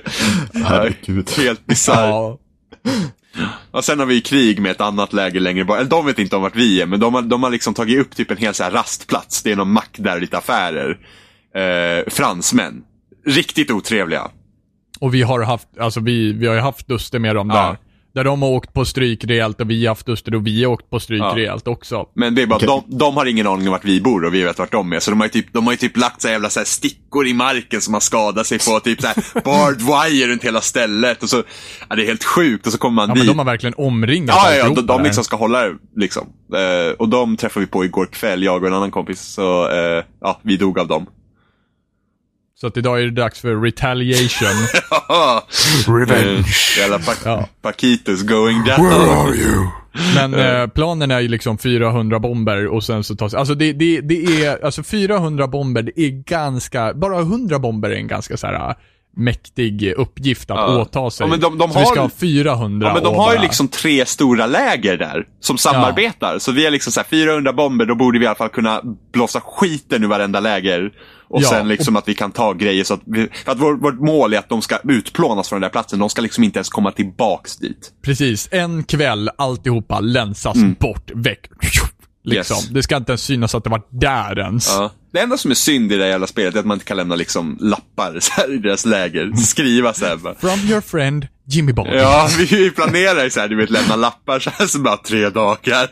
Herregud.
Helt bisarrt.
Ja.
Och sen har vi ju krig med ett annat läger längre bort. Eller de vet inte om vart vi är, men de har, de har liksom tagit upp typ en hel så här rastplats. Det är någon mack där och lite affärer. Eh, fransmän. Riktigt otrevliga.
Och vi har haft, alltså vi, vi har ju haft duster med dem
Ja.
där. Där de har åkt på stryk rejält och vi har haft duster och vi har åkt på stryk
Ja.
rejält också.
Men det är bara,
Okej.
de, de har ingen aning om vart vi bor och vi vet vart de är. Så de har ju typ, de har ju typ lagt så här jävla så här stickor i marken som har skadat sig på. Typ så här barbed wire runt hela stället. Och så, ja, det är helt sjukt. Och så kommer man
Ja
dit.
men de har verkligen omringat
Ja, ja, ja
alltihop
de, de
där.
liksom ska hålla det, liksom. Eh, och de träffade vi på igår kväll, jag och en annan kompis. Så eh, ja, vi dog av dem.
Så att idag är det dags för retaliation.
Eh,
Revenge.
Jävla pa-
Ja.
Paquitos going
Where
down.
are you?
Men eh, planen är ju liksom 400 bomber och sen så tas... Alltså det, det, det är... Alltså 400 bomber, det är ganska... Bara 100 bomber är en ganska så här äh, mäktig uppgift att
Ja.
åta sig.
Ja, men de- de
så vi
har-
ska ha 400
Ja, men de
och
har ju
bara-
liksom tre stora läger där som samarbetar. Så vi är liksom så här 400 bomber, då borde vi i alla fall kunna blåsa skiten ur varenda läger. Och
Ja,
sen liksom att vi kan ta grejer så att, vi, för att vårt, vårt mål är att de ska utplånas från den där platsen. De ska liksom inte ens komma tillbaks dit.
Precis, en kväll alltihopa länsas bort, väck. Liksom.
Mm. Yes.
Det ska inte ens synas att det var där ens.
Ja. Det enda som är synd i det här jävla spelet är att man inte kan lämna liksom lappar så här, i deras läger. Skriva så här bara.
From your friend Jimmy Bond.
Ja, vi planerar ju så här, du vet lämna lappar så här, så bara tre dagar.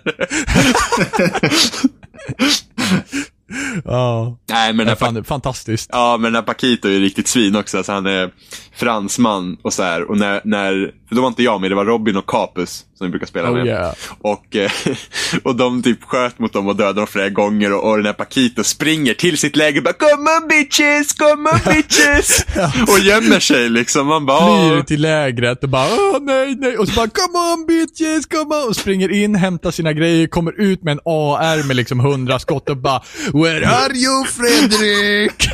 Ja.
Nej, men den här,
Fan,
pa-
det är fantastiskt.
ja, men den här Paquito är ju riktigt svin också. Alltså, han är fransman och så här. Och när, när, för då var inte jag med, det var Robin och Capus som vi brukar spela med.
Oh yeah.
Och, eh, och de typ sköt mot dem och dödade dem flera gånger och, och den här Paquito springer till sitt läger och bara Come on bitches, come on bitches! och gömmer sig liksom. Man bara
Flyr
"Åh."
till lägret och bara Åh, nej, nej. Och så bara come on bitches, come on. Och springer in, hämtar sina grejer, kommer ut med en AR med liksom hundra skott och bara Where are you Fredrik?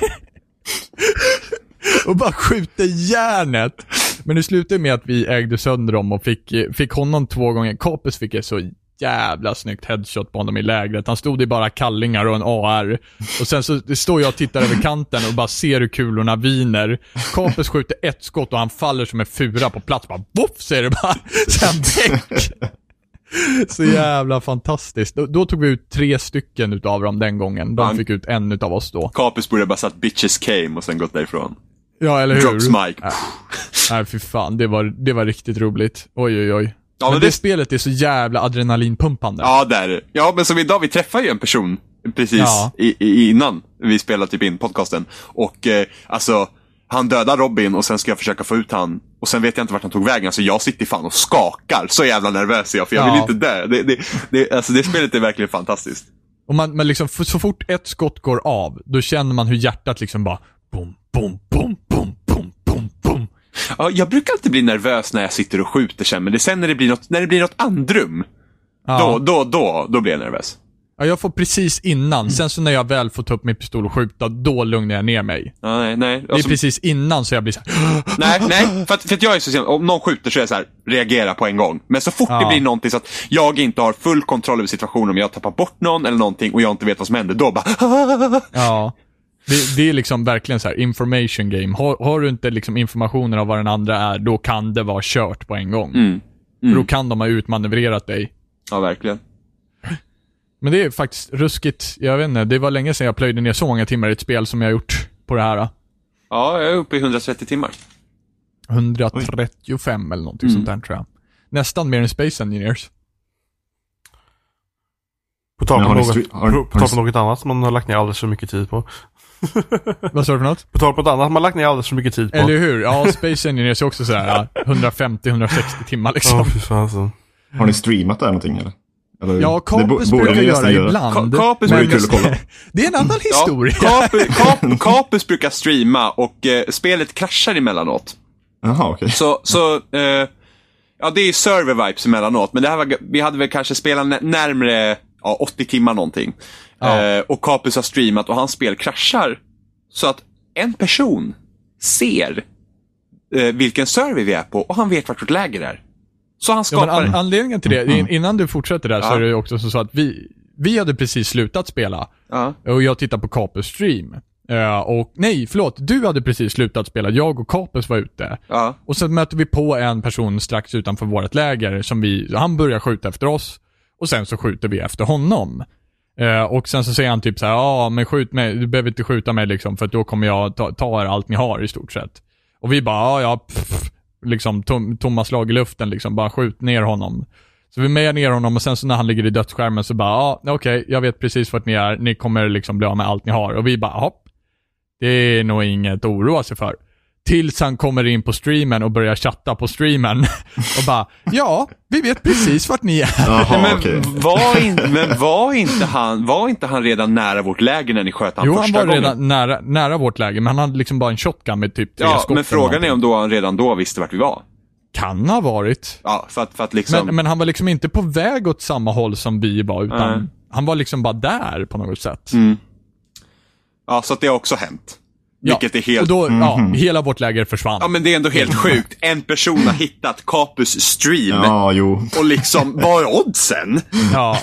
och bara skjuter järnet. Men det slutade med att vi ägde sönder dem och fick, fick honom två gånger. Kapus fick ett så jävla snyggt headshot på honom i lägret. Han stod i bara kallingar och en AR. Och sen så står jag och tittar över kanten och bara ser hur kulorna viner. Kapus skjuter ett skott och han faller som en fura på plats. Bara voff säger det bara. Sen däck. Så jävla fantastiskt. Då, då tog vi ut tre stycken utav dem den gången. De
Han-
fick ut en utav oss då.
Capus borde ha bara satt bitches came och sen gått därifrån.
Ja, eller hur?
Drops mic.
Ja. Nej, fy fan. Det var, det var riktigt roligt. Oj, oj, oj.
Ja,
men
men
det,
det-
spelet är så jävla adrenalinpumpande.
Ja, där. är det. Ja, men som idag, vi träffar ju en person precis
Ja.
i, i, innan vi spelar typ in podcasten. Och eh, alltså, han dödar Robin och sen ska jag försöka få ut han. Och sen vet jag inte vart han tog vägen, så jag sitter fan och skakar. Så jävla nervös är jag, för jag vill
Ja.
inte dö. Det, det, det, alltså, det spelet är verkligen fantastiskt.
Och man, man liksom, f- så fort ett skott går av, då känner man hur hjärtat liksom bara bom, bom, bom, bom, bom, bom, bom.
Ja, jag brukar alltid bli nervös när jag sitter och skjuter sen, men det är sen när det blir något, när det blir något andrum.
Ja.
Då, då, då, då blir jag nervös.
Ja, jag får precis
Mm.
innan. Sen så när jag väl får ta upp min pistol och skjuta, då lugnar jag ner mig.
Ja, nej, nej.
Det är
Alltså,
precis innan så jag blir så här,
Nej, nej. För att, för att jag är så sen, om någon skjuter så är jag så här, reagera på en gång. Men så fort det
Ja.
blir någonting så att jag inte har full kontroll över situationen, om jag tappar bort någon eller någonting och jag inte vet vad som händer, då bara
Ja. Det, det är liksom verkligen så här information game. Har, har du inte liksom informationen av vad den andra är, då kan det vara kört på en gång.
Mm.
För då kan de ha utmanövrerat dig.
Ja, verkligen.
Men det är faktiskt ruskigt. Jag vet inte, det var länge sedan jag plöjde ner så många timmar i ett spel som jag gjort på det här.
Ja, jag är uppe i 130 timmar.
135 eller någonting sånt
Mm.
där tror jag. Nästan mer än Space Engineers.
På tal
Men
om
har ni
något,
stre- har-
på, på
har ni
tal om något annat man har lagt ner alldeles för mycket tid på.
Vad sa du för något?
På tal om något annat man har lagt ner alldeles för mycket tid på.
Eller hur? Ja, Space Engineers är också så här 150-160 timmar
Ja,
liksom.
fy fan alltså.
Har ni streamat det här någonting eller? eller
Ja,
det bo-
Capus
borde
brukar
ni
göra
nästan
ibland.
Ka- Capus
men-
Vore kul att kolla.
Det är en annan historia.
Ja, Capu- Cap- Capus brukar streama och eh, spelet kraschar emellanåt.
Jaha, okej.
Så, så eh, ja det är ju server-vibes emellanåt, men det här var, g- vi hade väl kanske spelat nä- närmre ja, 80 timmar någonting.
Ja.
Eh, och Capus har streamat och hans spel kraschar. Så att en person ser eh, vilken server vi är på och han vet vart vårt läger är. Så han
Ja,
skapar...
men an anledningen till det, in- innan du fortsätter där så
Ja.
är det ju också så att vi, vi hade precis slutat spela
ja.
och jag tittar på Capus stream. Eh, och nej, förlåt. Du hade precis slutat spela. Jag och Capus var ute.
Ja.
Och sen möter vi på en person strax utanför vårt läger som vi, han börjar skjuta efter oss och sen så skjuter vi efter honom. Eh, och sen så säger han typ så här, ja men skjut mig, du behöver inte skjuta mig liksom för att då kommer jag ta, ta er allt ni har i stort sett. Och vi bara, ja ja, pff, liksom tom, tomma slag i luften liksom, bara skjut ner honom. Så vi mejar ner honom och sen så när han ligger i dödsskärmen så bara, ja okej, jag vet precis vart ni är, ni kommer liksom bli av med allt ni har. Och vi bara, hopp. Det är nog inget att oroa sig för. Tills han kommer in på streamen och börjar chatta på streamen och bara ”Ja, vi vet precis vart ni är”.
Nej,
Jaha,
men,
okej.
var in, men var inte han var inte han redan nära vårt läger när ni sköt han
Jo, han
första
var
gången?
redan nära, nära vårt läge, men han hade liksom bara en shotgun med typ tre
ja,
skott. eller
men frågan är
någonting.
om då han redan då visste vart vi var.
Kan ha varit.
Ja, för att, för att liksom...
Men, men han var liksom inte på väg åt samma håll som vi var, utan
Nej. Mm,
han var liksom bara där på något sätt.
Ja, så att det har också hänt.
Ja,
Vilket är helt... Mhm.
Och då, ja, hela vårt läger försvann.
Ja, men det är ändå helt sjukt. En person har hittat Capus stream.
Ja, jo.
Och liksom, vad är oddsen?
Ja.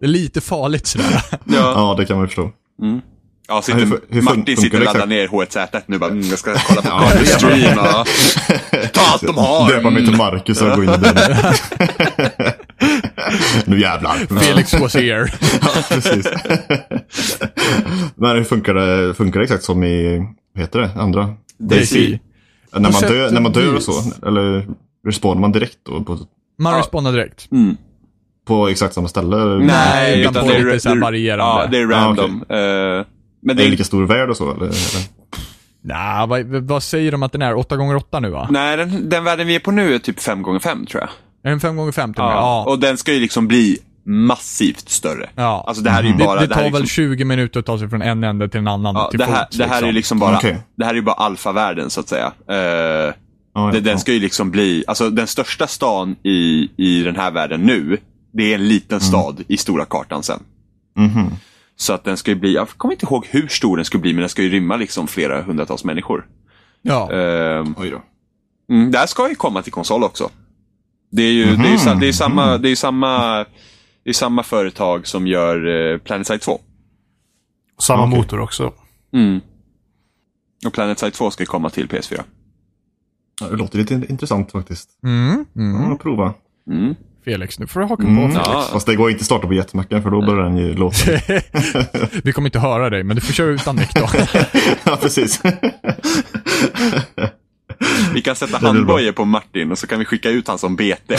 Det är lite farligt sådär.
Ja,
Ja, det kan man ju förstå.
ja sitter,
Hur fu- hur fun-
Martin sitter
funkar
och
det
laddar
exakt?
ner H1Z1 nu bara, mm, jag ska kolla på Capus stream. Ja. Ta allt de har. Mm.
Döpa mig till Marcus och gå in i den. nu jävlar.
Felix was here.
Ja, precis. Men hur funkar det, funkar det exakt som i, vad heter det, andra?
DC.
När man,
sätt
dör,
och
när man dör och
vis.
så, eller respawnar man direkt då på,
Man
Ja.
respawnar direkt.
Mm.
på exakt samma ställe?
Nej,
utan
utan på lite så här varierande.
Ja, det är
Ja, okej.
random. Eh, men
Är
det
det
är,
lika stor värld och så? Eller? eller?
Nah, vad, vad säger de att den är? 8x8 nu va?
nej, den, den världen vi är på nu är typ 5x5 tror jag.
Är den 5x5 till
Ja.
och med? Ja.
Och den ska ju liksom bli massivt större.
Ja. Mm.
Alltså det här är ju
Det,
bara...
det
här
tar
är
väl typ
liksom-
20 minuter att ta sig från en ände till en annan
Ja,
till
det,
fots,
här, det här är ju liksom bara,
Okej.
det här är ju bara alfavärlden så att säga. Eh,
Ja,
det,
ja,
den ska ju liksom bli, alltså den största stan i, i den här världen nu, det är en liten stad i stora kartan sen.
ja. Mhm.
Så att den ska ju bli, jag kommer inte ihåg hur stor den ska bli, men den ska ju rymma liksom flera hundratals människor.
Ja.
Eh,
Oj då.
mm, det här ska ju komma till konsol också. Det är ju, det är ju, sa- det är ju samma, det är ju samma, det är samma företag som gör eh, Planetside 2.
Samma
Okej.
motor också.
Mm. Och Planetside 2 ska ju komma till PS4.
Ja, det låter lite in- intressant faktiskt.
Mm, mm.
Mm. prova.
Mm.
Felix, nu får du haka
Mm.
på.
Ja.
Fast det går inte att starta på jetmacken för då börjar den ju låta.
Vi kommer inte höra dig, men du får köra utan mick då.
ja, precis.
Vi kan sätta
blir
handbojor på Martin och så kan vi skicka ut han som bete.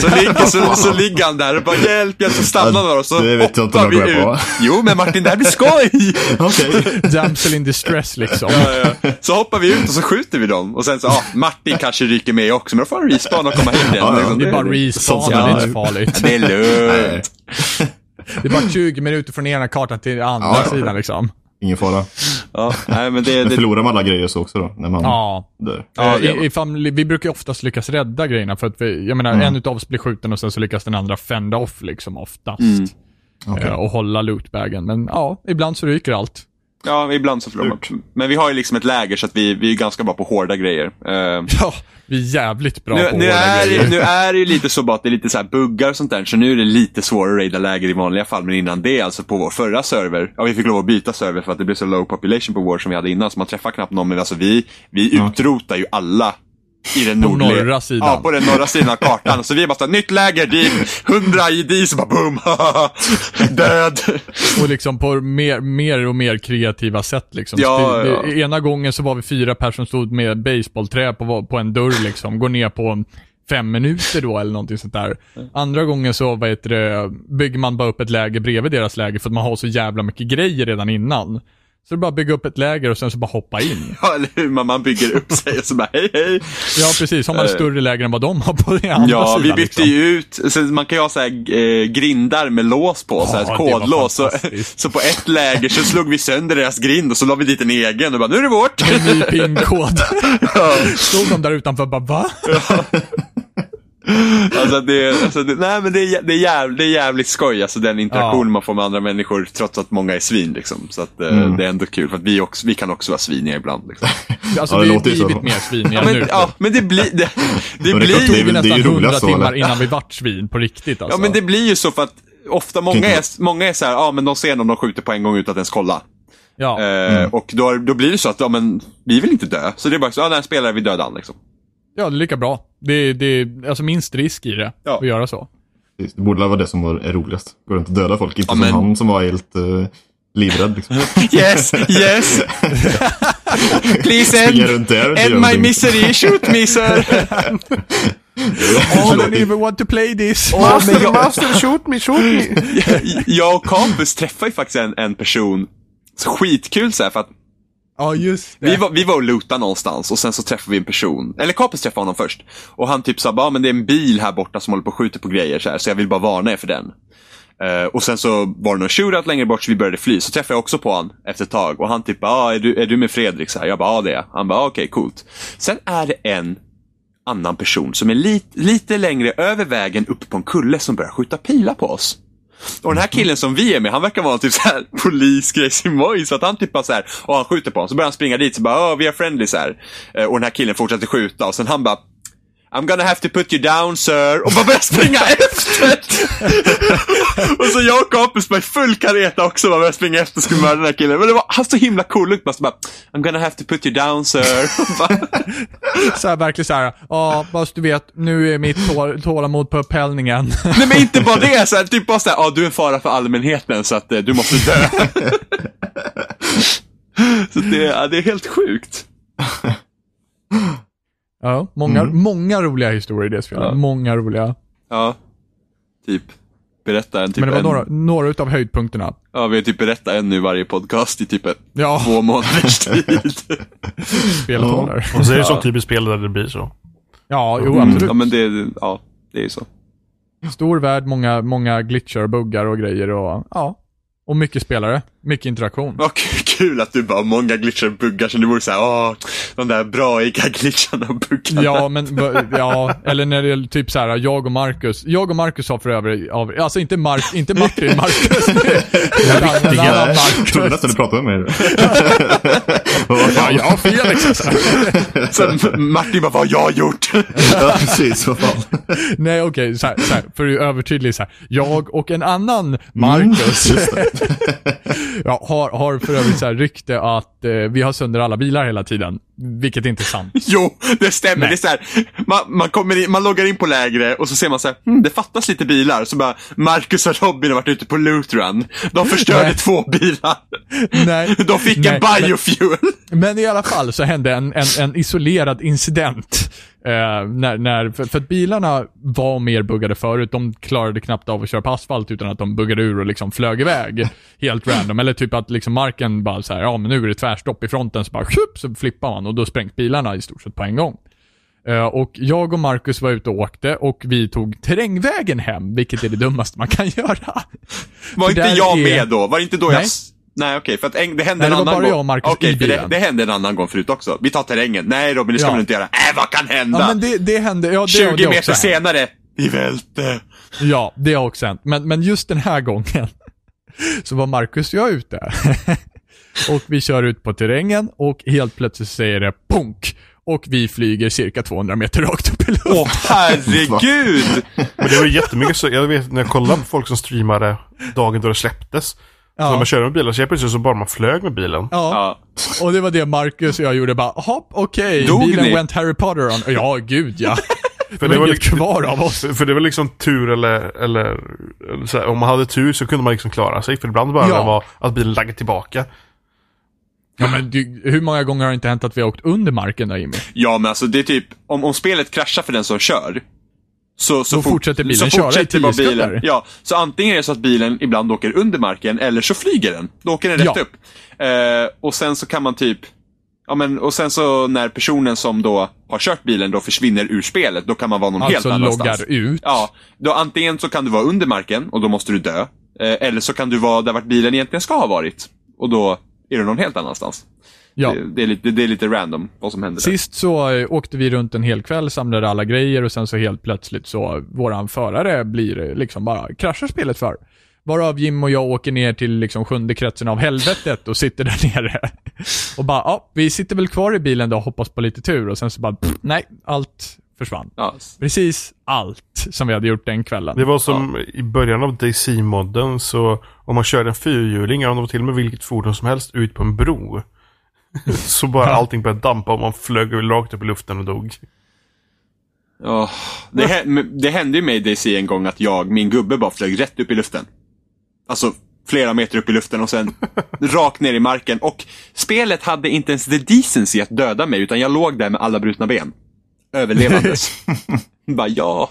Så ligger, så, så ligger han där och bara hjälp, hjälp, så stannar några och så
Det vet jag inte
hoppar
om jag
vi
går på.
ut. Jo, men Martin, det här blir skoj!
Okej.
Damsel in distress liksom.
Ja, ja. Så hoppar vi ut och så skjuter vi dem. Och sen så, ja, Martin kanske ryker med också, men då får han respawn och komma hem igen.
Ja, ja.
Liksom,
Det är bara
Sånt som
respawn, det är
jag-
inte så farligt.
Det är lugnt.
Det är bara 20 minuter från ena kartan till andra
Ja, ja.
sidan liksom.
Ingen fara.
Ja, nej, men det,
Men
det,
förlorar man alla grejer så också då? När man
Ja.
dör?
ja, det
Eh,
är
i, ifall, vi brukar ju oftast lyckas rädda grejerna för att vi, jag menar, en utav oss blir skjuten och sen så lyckas den andra fända off liksom oftast.
Okej.
Eh, och hålla lootbagen. Men ja, ibland så ryker allt.
ja, ibland så förlorar man. Men vi har ju liksom ett läger så att vi, vi är ganska bra på hårda grejer. Eh,
Ja, vi är jävligt bra
Nu,
på
nu,
hårda
är,
grejer.
det- nu är det ju lite så bara att det är lite så här buggar och sånt där. Så nu är det lite svårare att raida läger i vanliga fall. Men innan det, alltså på vår förra server. Ja, vi fick lov att byta server för att det blev så low population på vår som vi hade innan. Så man träffar knappt någon. Men alltså vi, vi utrotar ju alla. I den
På
nordliga-
norra sidan.
Ja, på den norra sidan av kartan. Så vi är bara såhär, nytt läger dit, 100 i dis, och bara boom, död.
Och liksom på mer, mer och mer kreativa sätt liksom.
Ja,
Så det, det,
ja.
Ena gången så var vi fyra personer som stod med baseballträ på, på en dörr liksom. Går ner på en, fem minuter då eller någonting sånt där.
Mm.
Andra gången så, vad heter det, bygger man bara upp ett läger bredvid deras läger för att man har så jävla mycket grejer redan innan. Så det är bara att bygga upp ett läger och sen så bara hoppa in.
Ja, eller hur? Man, man bygger upp sig och så bara, hej hej.
Ja, precis. Har man ett
Eh.
större läger än vad de har på den andra
Ja,
sidan.
vi bytte
liksom.
ju ut, så man kan ju ha så här, eh, grindar med lås på, så
det
här,
var
kodlås. Så,
fantastiskt.
så på ett läger så slog vi sönder deras grind och så la vi dit en egen och bara, nu är det vårt!
Ny pinkod. Stod de där utanför och bara va?
alltså, det, alltså, det, nej, men det, är jä- det, är jäv, det är jävligt skoj, alltså den interaktion man får med andra människor, trots att många är svin. Liksom. Så att, eh,
Mm.
det är ändå kul, för att vi, också, vi kan också vara sviniga ibland. Liksom.
Alltså
Ja, det
vi har
låter ju så.
blivit mer sviniga
Ja,
nu.
men, ja, men det blir... Det, det
Men det är klart,
blir
är väl- det är
Det tog nästan
ju roligast
100
så,
timmar
eller?
innan vi vart svin på riktigt alltså.
Ja, men det blir ju så för att ofta många
Kan inte
är, många är så här, ja men de ser någon de skjuter på en gång utan att ens kolla.
Ja.
Eh,
Mm.
Och då, då blir det så att, ja men, vi vill inte dö. Så det är bara så, ja den här spelaren vi dödar han liksom.
ja, det är lika bra. Det är, det är alltså minst risk i det,
Ja.
att göra så.
Precis, Det borde väl vara det som var, är roligast. Gå runt och döda folk. Inte
Ja,
som
men-
han som var helt eh, livrädd. Liksom.
Yes, yes! Please
Springa
end,
runt där och inte
end
göra
my
någonting.
misery, shoot me sir!
I don't even want to play this.
Master, master, shoot me, shoot me!
Jag och Campus träffade ju faktiskt en, en person, så skitkul så här, för att
Ja, just det.
Vi var, vi var och lootade någonstans och sen så träffade vi en person. Eller Kapus träffade honom först. Och han typ sa bara, ah, men det är en bil här borta som håller på och skjuter på grejer så, här, så jag vill bara varna er för den. Eh, och sen så var det någon shootout längre bort så vi började fly. Så träffade jag också på honom efter ett tag och han typ bara, ah, är, du, är du med Fredrik? Så här, jag bara, ja ah, det är jag. Han bara, ah, okej coolt. Sen är det en annan person som är lit, lite längre över vägen upp på en kulle som börjar skjuta pilar på oss. Och den här killen som vi är med, han verkar vara typ såhär polis crazy boy, så att han typ bara såhär, och han skjuter på honom. Så börjar han springa dit, så bara, "Åh, vi är friendly så här. Eh, Och den här killen fortsätter skjuta och sen han bara, "Ja, I'm gonna have to put you down sir. Och bara börjar springa efter. och så jag och kompis med full kareta också bara börjar springa efter och skulle mörda den här killen. Men det var, han så himla cool ut. bara så bara, I'm gonna have to put you down sir. Och bara,
Så här, verkligen så här. ja fast du vet, nu är mitt tål- tålamod på upphällningen.
Nej men inte bara det. Så här, typ bara såhär, ah, du är en fara för allmänheten så att eh, du måste dö. så det, ja, det är helt sjukt.
Ja, många, många roliga historier i det spelet.
Mm. Ja.
Många roliga.
Ja, typ. Berätta en typ
Men det var
en,
några, några utav höjdpunkterna.
Ja, vi har typ berättat en nu i varje podcast i typ ett,
Ja,
två månaders tid.
Ja.
spelet håller.
Och så är det sånt typiskt spel där det blir så.
Ja, jo absolut.
Mm. Ja, men det, ja, det är ju så.
Stor värld, många, många glitchar, buggar och grejer och ja. Och mycket spelare, mycket interaktion.
Vad k- kul att du bara, många glitchar och buggar, så det vore såhär, åh, de där braiga glitcharna och buggarna.
Ja, men b- ja, eller när det är typ så här, jag och Marcus. Jag och Marcus har för övrigt, av- alltså inte, Mark, inte Martin, Marcus. Den andra
Nej, jag trodde
Marcus.
nästan du pratade med mig. Vad var
Ja,
fan?
ja, Felix alltså.
Sen Martin bara, vad har jag gjort?
Ja, precis. Vad fan.
Nej, okej, så här, så här, för att vara övertydlig så här. Jag och en annan Marcus
Mm, just det.
ja, har, har för övrigt så här rykte att eh, vi har sönder alla bilar hela tiden. Vilket inte är sant.
jo, det stämmer.
Nej.
Det är såhär, man, man, kommer in, man loggar in på lägre och så ser man såhär, hm, det fattas lite bilar. Så bara, Marcus och Robin har varit ute på loot run. De förstörde
Nej.
två bilar.
Nej.
De fick
Nej,
en
men-
biofuel.
Men i alla fall så hände en, en, en isolerad incident. Eh, när, när, för, för att bilarna var mer buggade förut. De klarade knappt av att köra på asfalt utan att de buggade ur och liksom flög iväg. Helt random. Eller typ att liksom marken bara så här, ja men nu är det tvärstopp i fronten. Så bara tjup, så flippar man och då sprängs bilarna i stort sett på en gång. Eh, Och jag och Marcus var ute och åkte och vi tog terrängvägen hem, vilket är det dummaste man kan göra.
Var
För
inte
där
jag
är-
med då? Var det inte då
Nej.
jag... s- Nej okej, för att en, det hände
Nej,
en
det var
annan
bara
gång.
jag och Marcus
Okej,
i
för
bilen.
Det, det hände en annan gång förut också. Vi tar terrängen. Nej Robin, det ska
Ja.
man inte göra. Äh, vad kan hända?
Ja men det, det hände, ja det, det
20
har också
meter
hänt.
senare. Vi välte.
Ja, det har också hänt. Men, men just den här gången så var Marcus och jag ute. och vi kör ut på terrängen och helt plötsligt säger det punk. Och vi flyger cirka 200 meter rakt upp i luften.
Åh herregud!
Men det var jättemycket så. Jag vet när jag kollade på folk som streamade dagen då det släpptes. Så när man körde med bilen så helt plötsligt så bara man flög med bilen.
Ja,
Ja.
och det var det Marcus och jag gjorde bara, hopp, okej,
Dog
bilen
ni?
went Harry Potter on. Ja, gud ja.
För
Det var inget
liksom-
kvar av oss.
För, för det var liksom tur eller, eller, eller så här, om man hade tur så kunde man liksom klara sig. För ibland bara
Ja.
var att bilen laggade tillbaka.
Ja, men du, hur många gånger har det inte hänt att vi har åkt under marken där Jimmy?
Ja men alltså det är typ, om, om spelet kraschar för den som kör. Så, så
Då
fort-
fortsätter bilen
så
köra i
fortsätter
tio
bara
sekunder.
bilen. Ja, så antingen är det så att bilen ibland åker under marken eller så flyger den. Då åker den rätt
Ja.
upp. Eh, och sen så kan man typ, ja men och sen så när personen som då har kört bilen då försvinner ur spelet, då kan man vara någon helt
Alltså
annanstans.
loggar ut.
Ja, då antingen så kan du vara under marken och då måste du dö. Eh, eller så kan du vara där vart bilen egentligen ska ha varit. Och då är du någon helt annanstans.
Ja.
Det, det, är lite, det är lite random vad som händer där.
Sist så eh, åkte vi runt en hel kväll, samlade alla grejer och sen så helt plötsligt så eh, våran förare blir eh, liksom bara kraschar spelet för. Varav Jim och jag åker ner till liksom sjunde kretsen av helvetet och sitter där nere. Och bara, ja, vi sitter väl kvar i bilen då och hoppas på lite tur och sen så bara, pff, nej, allt försvann.
Ja,
Precis allt som vi hade gjort den kvällen.
Det var som i början av DC-modden så om man körde en fyrhjuling, ja, om det var till och med vilket fordon som helst, ut på en bro. så bara allting började dampa och man flög rakt upp i luften och dog.
Ja, det, hä- men det hände ju mig i DC en gång att jag, min gubbe bara flög rätt upp i luften. Alltså flera meter upp i luften och sen rakt ner i marken. Och spelet hade inte ens the decency att döda mig utan jag låg där med alla brutna ben. Överlevandes. bara ja,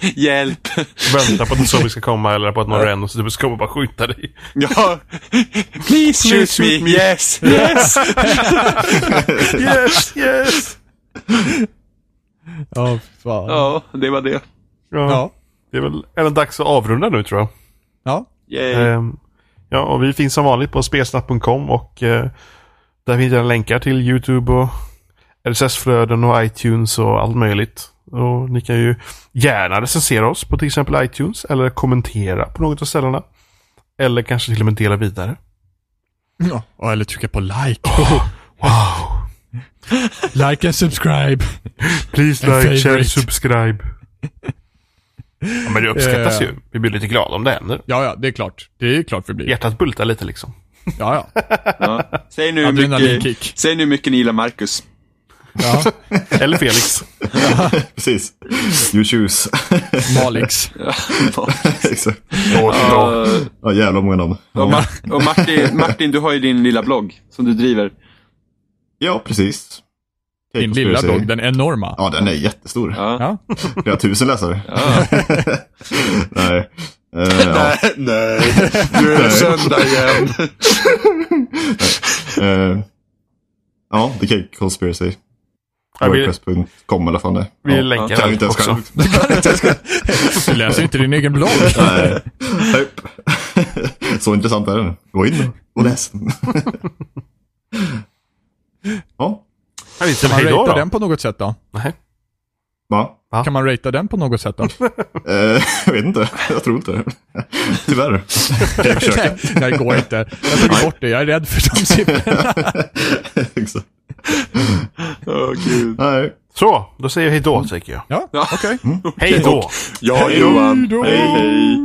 hjälp.
Vänta på att en zombie ska komma eller på att någon random så typ ska komma och bara skjuta dig.
Ja. Please shoot me. Yes, yes.
Yes, yes!
Ja, fan. Ja.
Ja, det var det.
Ja,
Ja.
Det är väl även dags att avrunda nu tror jag.
ja.
Yay.
Ehm, ja, och vi finns som vanligt på spelsnack.com och eh, där finns det länkar till YouTube och RSS-flöden och iTunes och allt möjligt. Och ni kan ju gärna recensera oss på till exempel iTunes eller kommentera på något av ställena. Eller kanske till och med dela vidare.
ja. Eller trycka på like.
Wow!
Like and subscribe.
Please
En
like, share,
favorite.
subscribe. Ja, men det uppskattas
Eh.
ju. Vi blir lite glada om det händer.
Ja, ja, det är klart. Det är klart vi blir. Ja,
Hjärtat bultar lite liksom.
ja.
Ja. Säg, nu hur
Adrenalinkick.
mycket, säg nu hur mycket ni gillar Marcus.
ja.
Eller Felix.
Precis. You choose.
Malix.
Exakt.
Eh,
Ja, jävlar många namn.
och
Ja,
Ma- och Martin, Martin, du har ju din lilla blogg som du driver.
ja precis. Cake
Din lilla
Conspiracy.
dog, den enorma.
Ja, den är jättestor.
Ja.
Ja.
Flera tusen läsare.
Ja.
Nej. Eh, ja.
Nej, nu är det söndag igen.
Eh, ja, The Cake Conspiracy.
Ja, vi,
Wordpress.com eller vad fan det är.
vi
Ja.
länkar
Kan vi inte
den
ens
också.
själv.
Du läser ju inte din egen blogg.
Nej. Hopp. Så intressant är den. Gå in och läs den. Ja,
Ja, vi
Kan
säger
man
hej då.
ratea
då.
den på något sätt då?
Nej.
va?
Ja.
Kan man ratea den på något sätt då?
Eh, jag vet inte. Jag tror inte det. Tyvärr. Jag försöker.
Nej, nej, det går inte. Jag tog bort det. Jag är rädd för de siffrorna.
Exakt.
Åh, gud.
Nej.
Så, då säger jag hej då, tycker jag.
Ja,
Ja.
okej.
Hej då!
Ja, Johan.
då.
Hej, hej.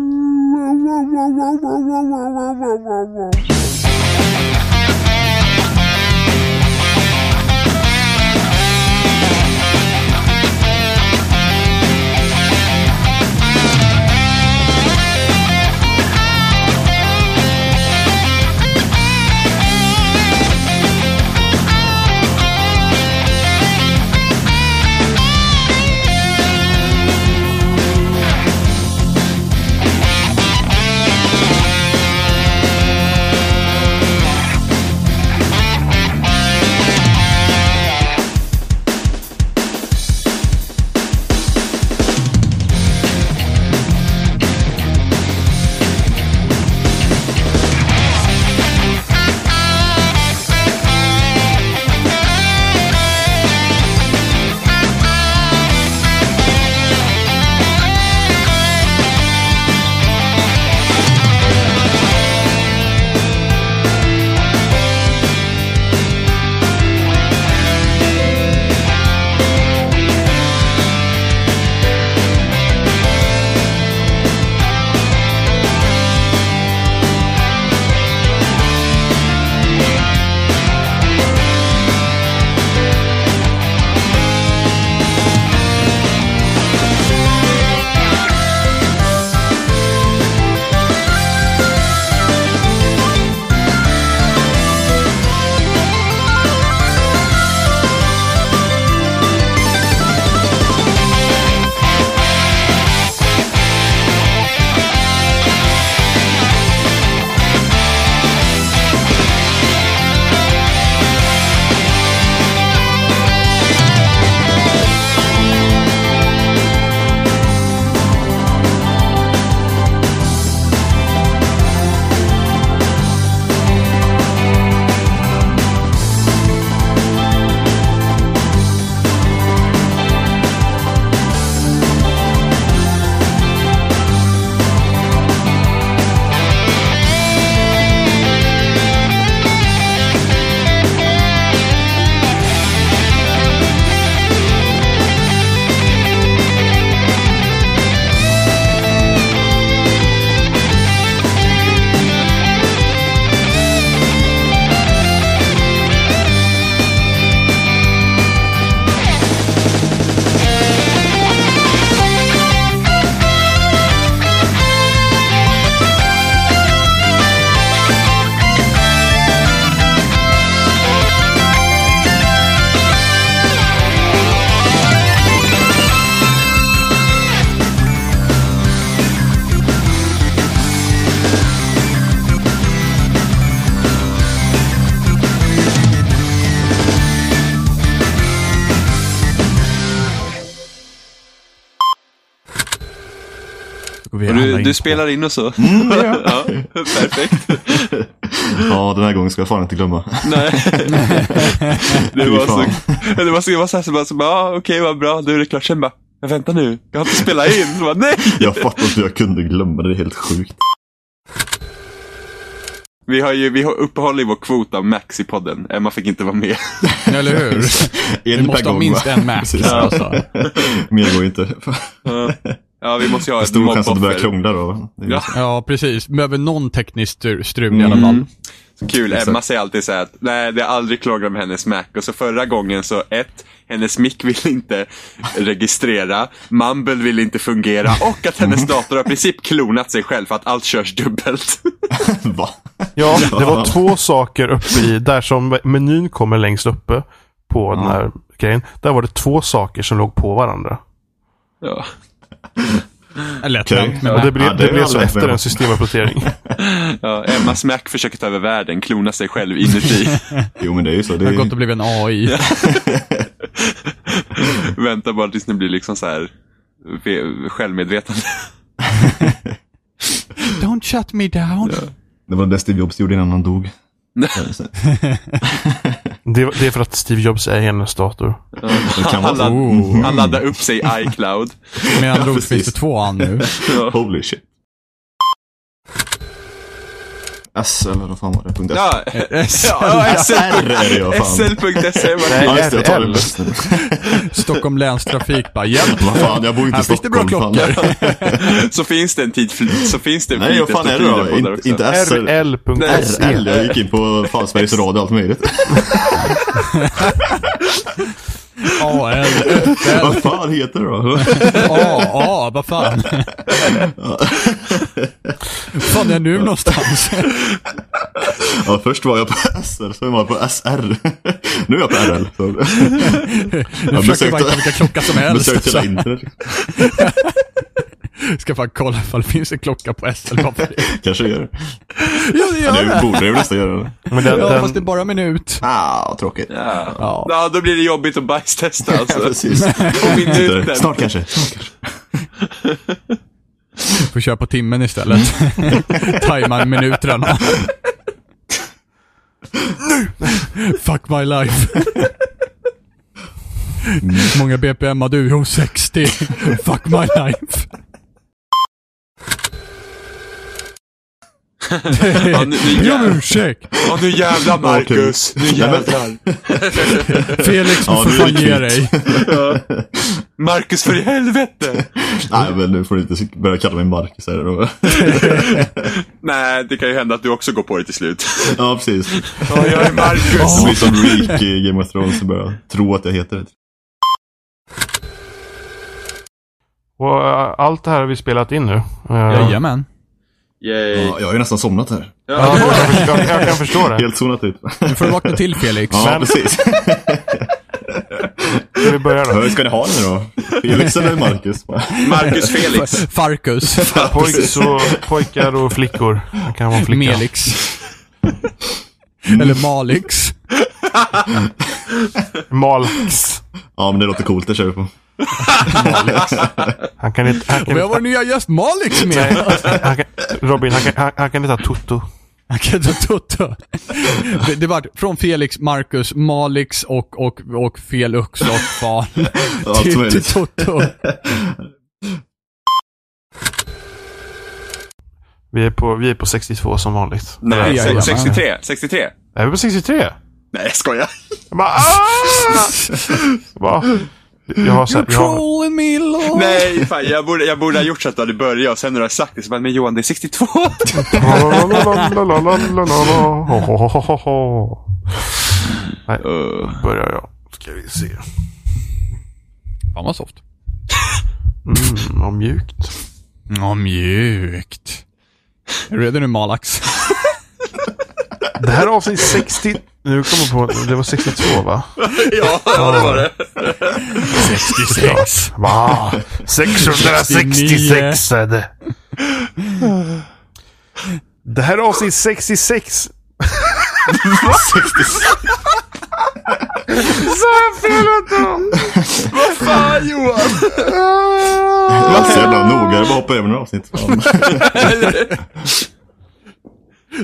Och Du, du spelar in och så? Mm, ja, perfekt.
Ja, den här gången ska jag fan inte glömma.
Nej. Det var så...
fan.
Det var så, det var så här som bara, så bara ah, okej vad bra, nu är det klart. Sen bara, men vänta nu, jag har inte spelat in. Så bara, nej!
Jag fattar inte hur jag kunde glömma det. Det är helt sjukt.
Vi har ju vi har uppehåll i vår kvot av Max i podden. Emma fick inte vara med.
Eller hur? Vi måste ha minst en Mac.
Precis.
Alltså.
Mer går ju inte.
ja, vi måste ju ha
Det är
ett
stor chans att det börjar
mobboffer.
krångla då. Det är ju
Ja.
så.
Ja, precis. Behöver någon teknisk stru- strul i alla fall.
Kul,
Exakt.
Emma säger alltid så här att nej, det är aldrig klagat med hennes Mac. Och så förra gången så ett, hennes mic vill inte registrera, Mumble vill inte fungera och att hennes dator har i princip klonat sig själv för att allt körs dubbelt.
Va?
Ja, det var två saker uppe i, där som menyn kommer längst uppe på den här grejen. Där var det två saker som låg på varandra.
ja.
Lätt
Okej.
hänt, men
Och det, ble,
Ja, det
det,
är
blev
alla
så efter
bra.
en systemuppdatering.
Ja, Emmas Mac försöker ta över världen, klona sig själv inuti.
Jo men det är ju så. Det
det
är,
har gått och blivit en AI.
Vänta bara tills ni blir liksom så här ve- självmedvetande.
Don't shut me down.
det var det Steve Jobs gjorde innan han dog.
Det, det är för att Steve Jobs är hennes dator.
Det kan vara
Han,
så.
ladd, han laddar upp sig i iCloud.
Med andra ord
precis.
finns det två an nu.
Holy shit. S eller vad fan var det? Punkt S.
Ja, ja SL.
R är det ja, fan.
SL.se var det.
Ja, just det, jag tar det
RL.
bäst nu.
Stockholm Läns Trafik bara, hjälp.
Vad fan, jag bor inte
Här
i
finns det bra
Stockholm. fan.
klockor.
Så finns det en tid, så finns det en
Nej, vad fan är det
efter tiden
då?
på där
Inte-
också.
Inte S. eller-
Nej,
E.
RL.se.
RL, jag gick in på fan Sveriges Radio och allt möjligt.
AL,
Vad fan heter det då?
AA, vad fan. fan är jag nu någonstans?
Ja, först var jag på SR, sen var jag på SR. Nu är jag på RL. Så.
Nu försöker jag bara hitta
besökte-
vilka klocka som helst.
Besökt
Alltså.
hela internet.
Ska fan kolla ifall det finns en klocka på SL. bara för det.
Kanske gör det.
Ja, det gör
Nu
det.
borde jag ju nästan göra det.
Men den,
Ja, fast det är
den,
bara en minut.
Ah, tråkigt.
Ja.
Ja.
ja, då blir det jobbigt att bajstesta
Ja,
alltså.
precis.
På minuten.
Snart kanske. Snart kanske.
Får köra på timmen istället. Tajmar minuterna. nu! Fuck my life.
Mm.
Hur många BPM har du? Jo, 60. Fuck my life.
Ja, nu, nu,
Be om
jä-
ursäkt.
ja, nu jävlar Marcus. Nu
Nej, men-
jävlar.
Felix, du
Ja,
får
nu är det
fan ge dig.
kvitt.
Marcus för i helvete.
Nej, men nu får du inte börja kalla mig Marcus. Här då.
Nej, det kan ju hända att du också går på det till slut.
Ja, precis.
Ja, jag är
Det
Marcus.
blir som Reek i Game of Thrones och börjar tro att jag heter det.
och, äh, allt det här har vi spelat in nu. Äh,
Jajamän.
Yay.
Ja, jag har ju nästan somnat här.
Ja,
Ja.
jag, kan- jag, jag kan förstå det.
Helt zonat ut.
Nu får du vakna till Felix.
Ja,
Men-
precis.
Ska vi börja då?
Hur ska ni ha det då? Felix eller Marcus?
Marcus Felix.
Farkus.
Pojks och, pojkar och flickor. Jag kan vara flicka.
Melix. Eller Malix.
Malx.
Ja, men det låter coolt. Det kör vi på.
Han kan inte... Han
Och
kan,
vi har vår nya gäst Malix med.
nej, han kan, Robin, han kan, han, han kan inte ha Toto.
Han kan ta tutto. Det, det var från Felix, Marcus, Malix och, och, och Felix och fan.
Allt
till- till
möjligt.
Toto.
Vi är på, vi är på 62 som vanligt.
Nej,
Ja, ja,
se- 63. 63.
Är vi på 63?
Nej, jag skojar.
Jag bara, "Ah!" Va? Jag har så här,
You're
jag, har-
trolling me Lord.
Nej, fan, jag, borde, jag borde ha gjort så att du hade börjat och sen när du har sagt det så bara, men Johan det är 62.
Nej,
Uh,
börjar jag. Ska vi se.
Fan vad soft.
Mm, vad mjukt.
Ja, mjukt. Är du redo nu Malax?
Det här är avsnitt 60... Nu kommer jag på... Det var 62 va?
ja, ja, det var det.
66.
Va?
666
är det. Det här är avsnitt 66.
66.
Så jag felat dem?
Fan Johan!
Jag är så jävla noga. Jag bara hoppar över några avsnitt. Fan.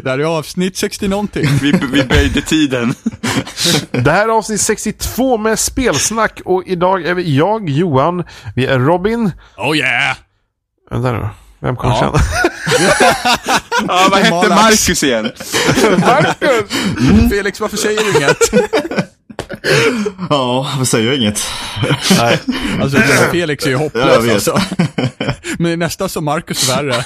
Där är avsnitt 60 någonting.
Vi, vi böjde tiden.
Det här är avsnitt 62 med spelsnack och idag är vi jag, Johan, vi är Robin.
Oh yeah!
Vänta nu. Vem kommer
Ja.
känna?
Ja, vad hette
Malax.
Marcus igen?
Marcus!
Felix, varför säger du inget?
Ja, jag säger jag inget.
Nej.
Alltså Felix är ju
Ja, jag
hopplös
vet.
alltså. Men nästan som Marcus värre.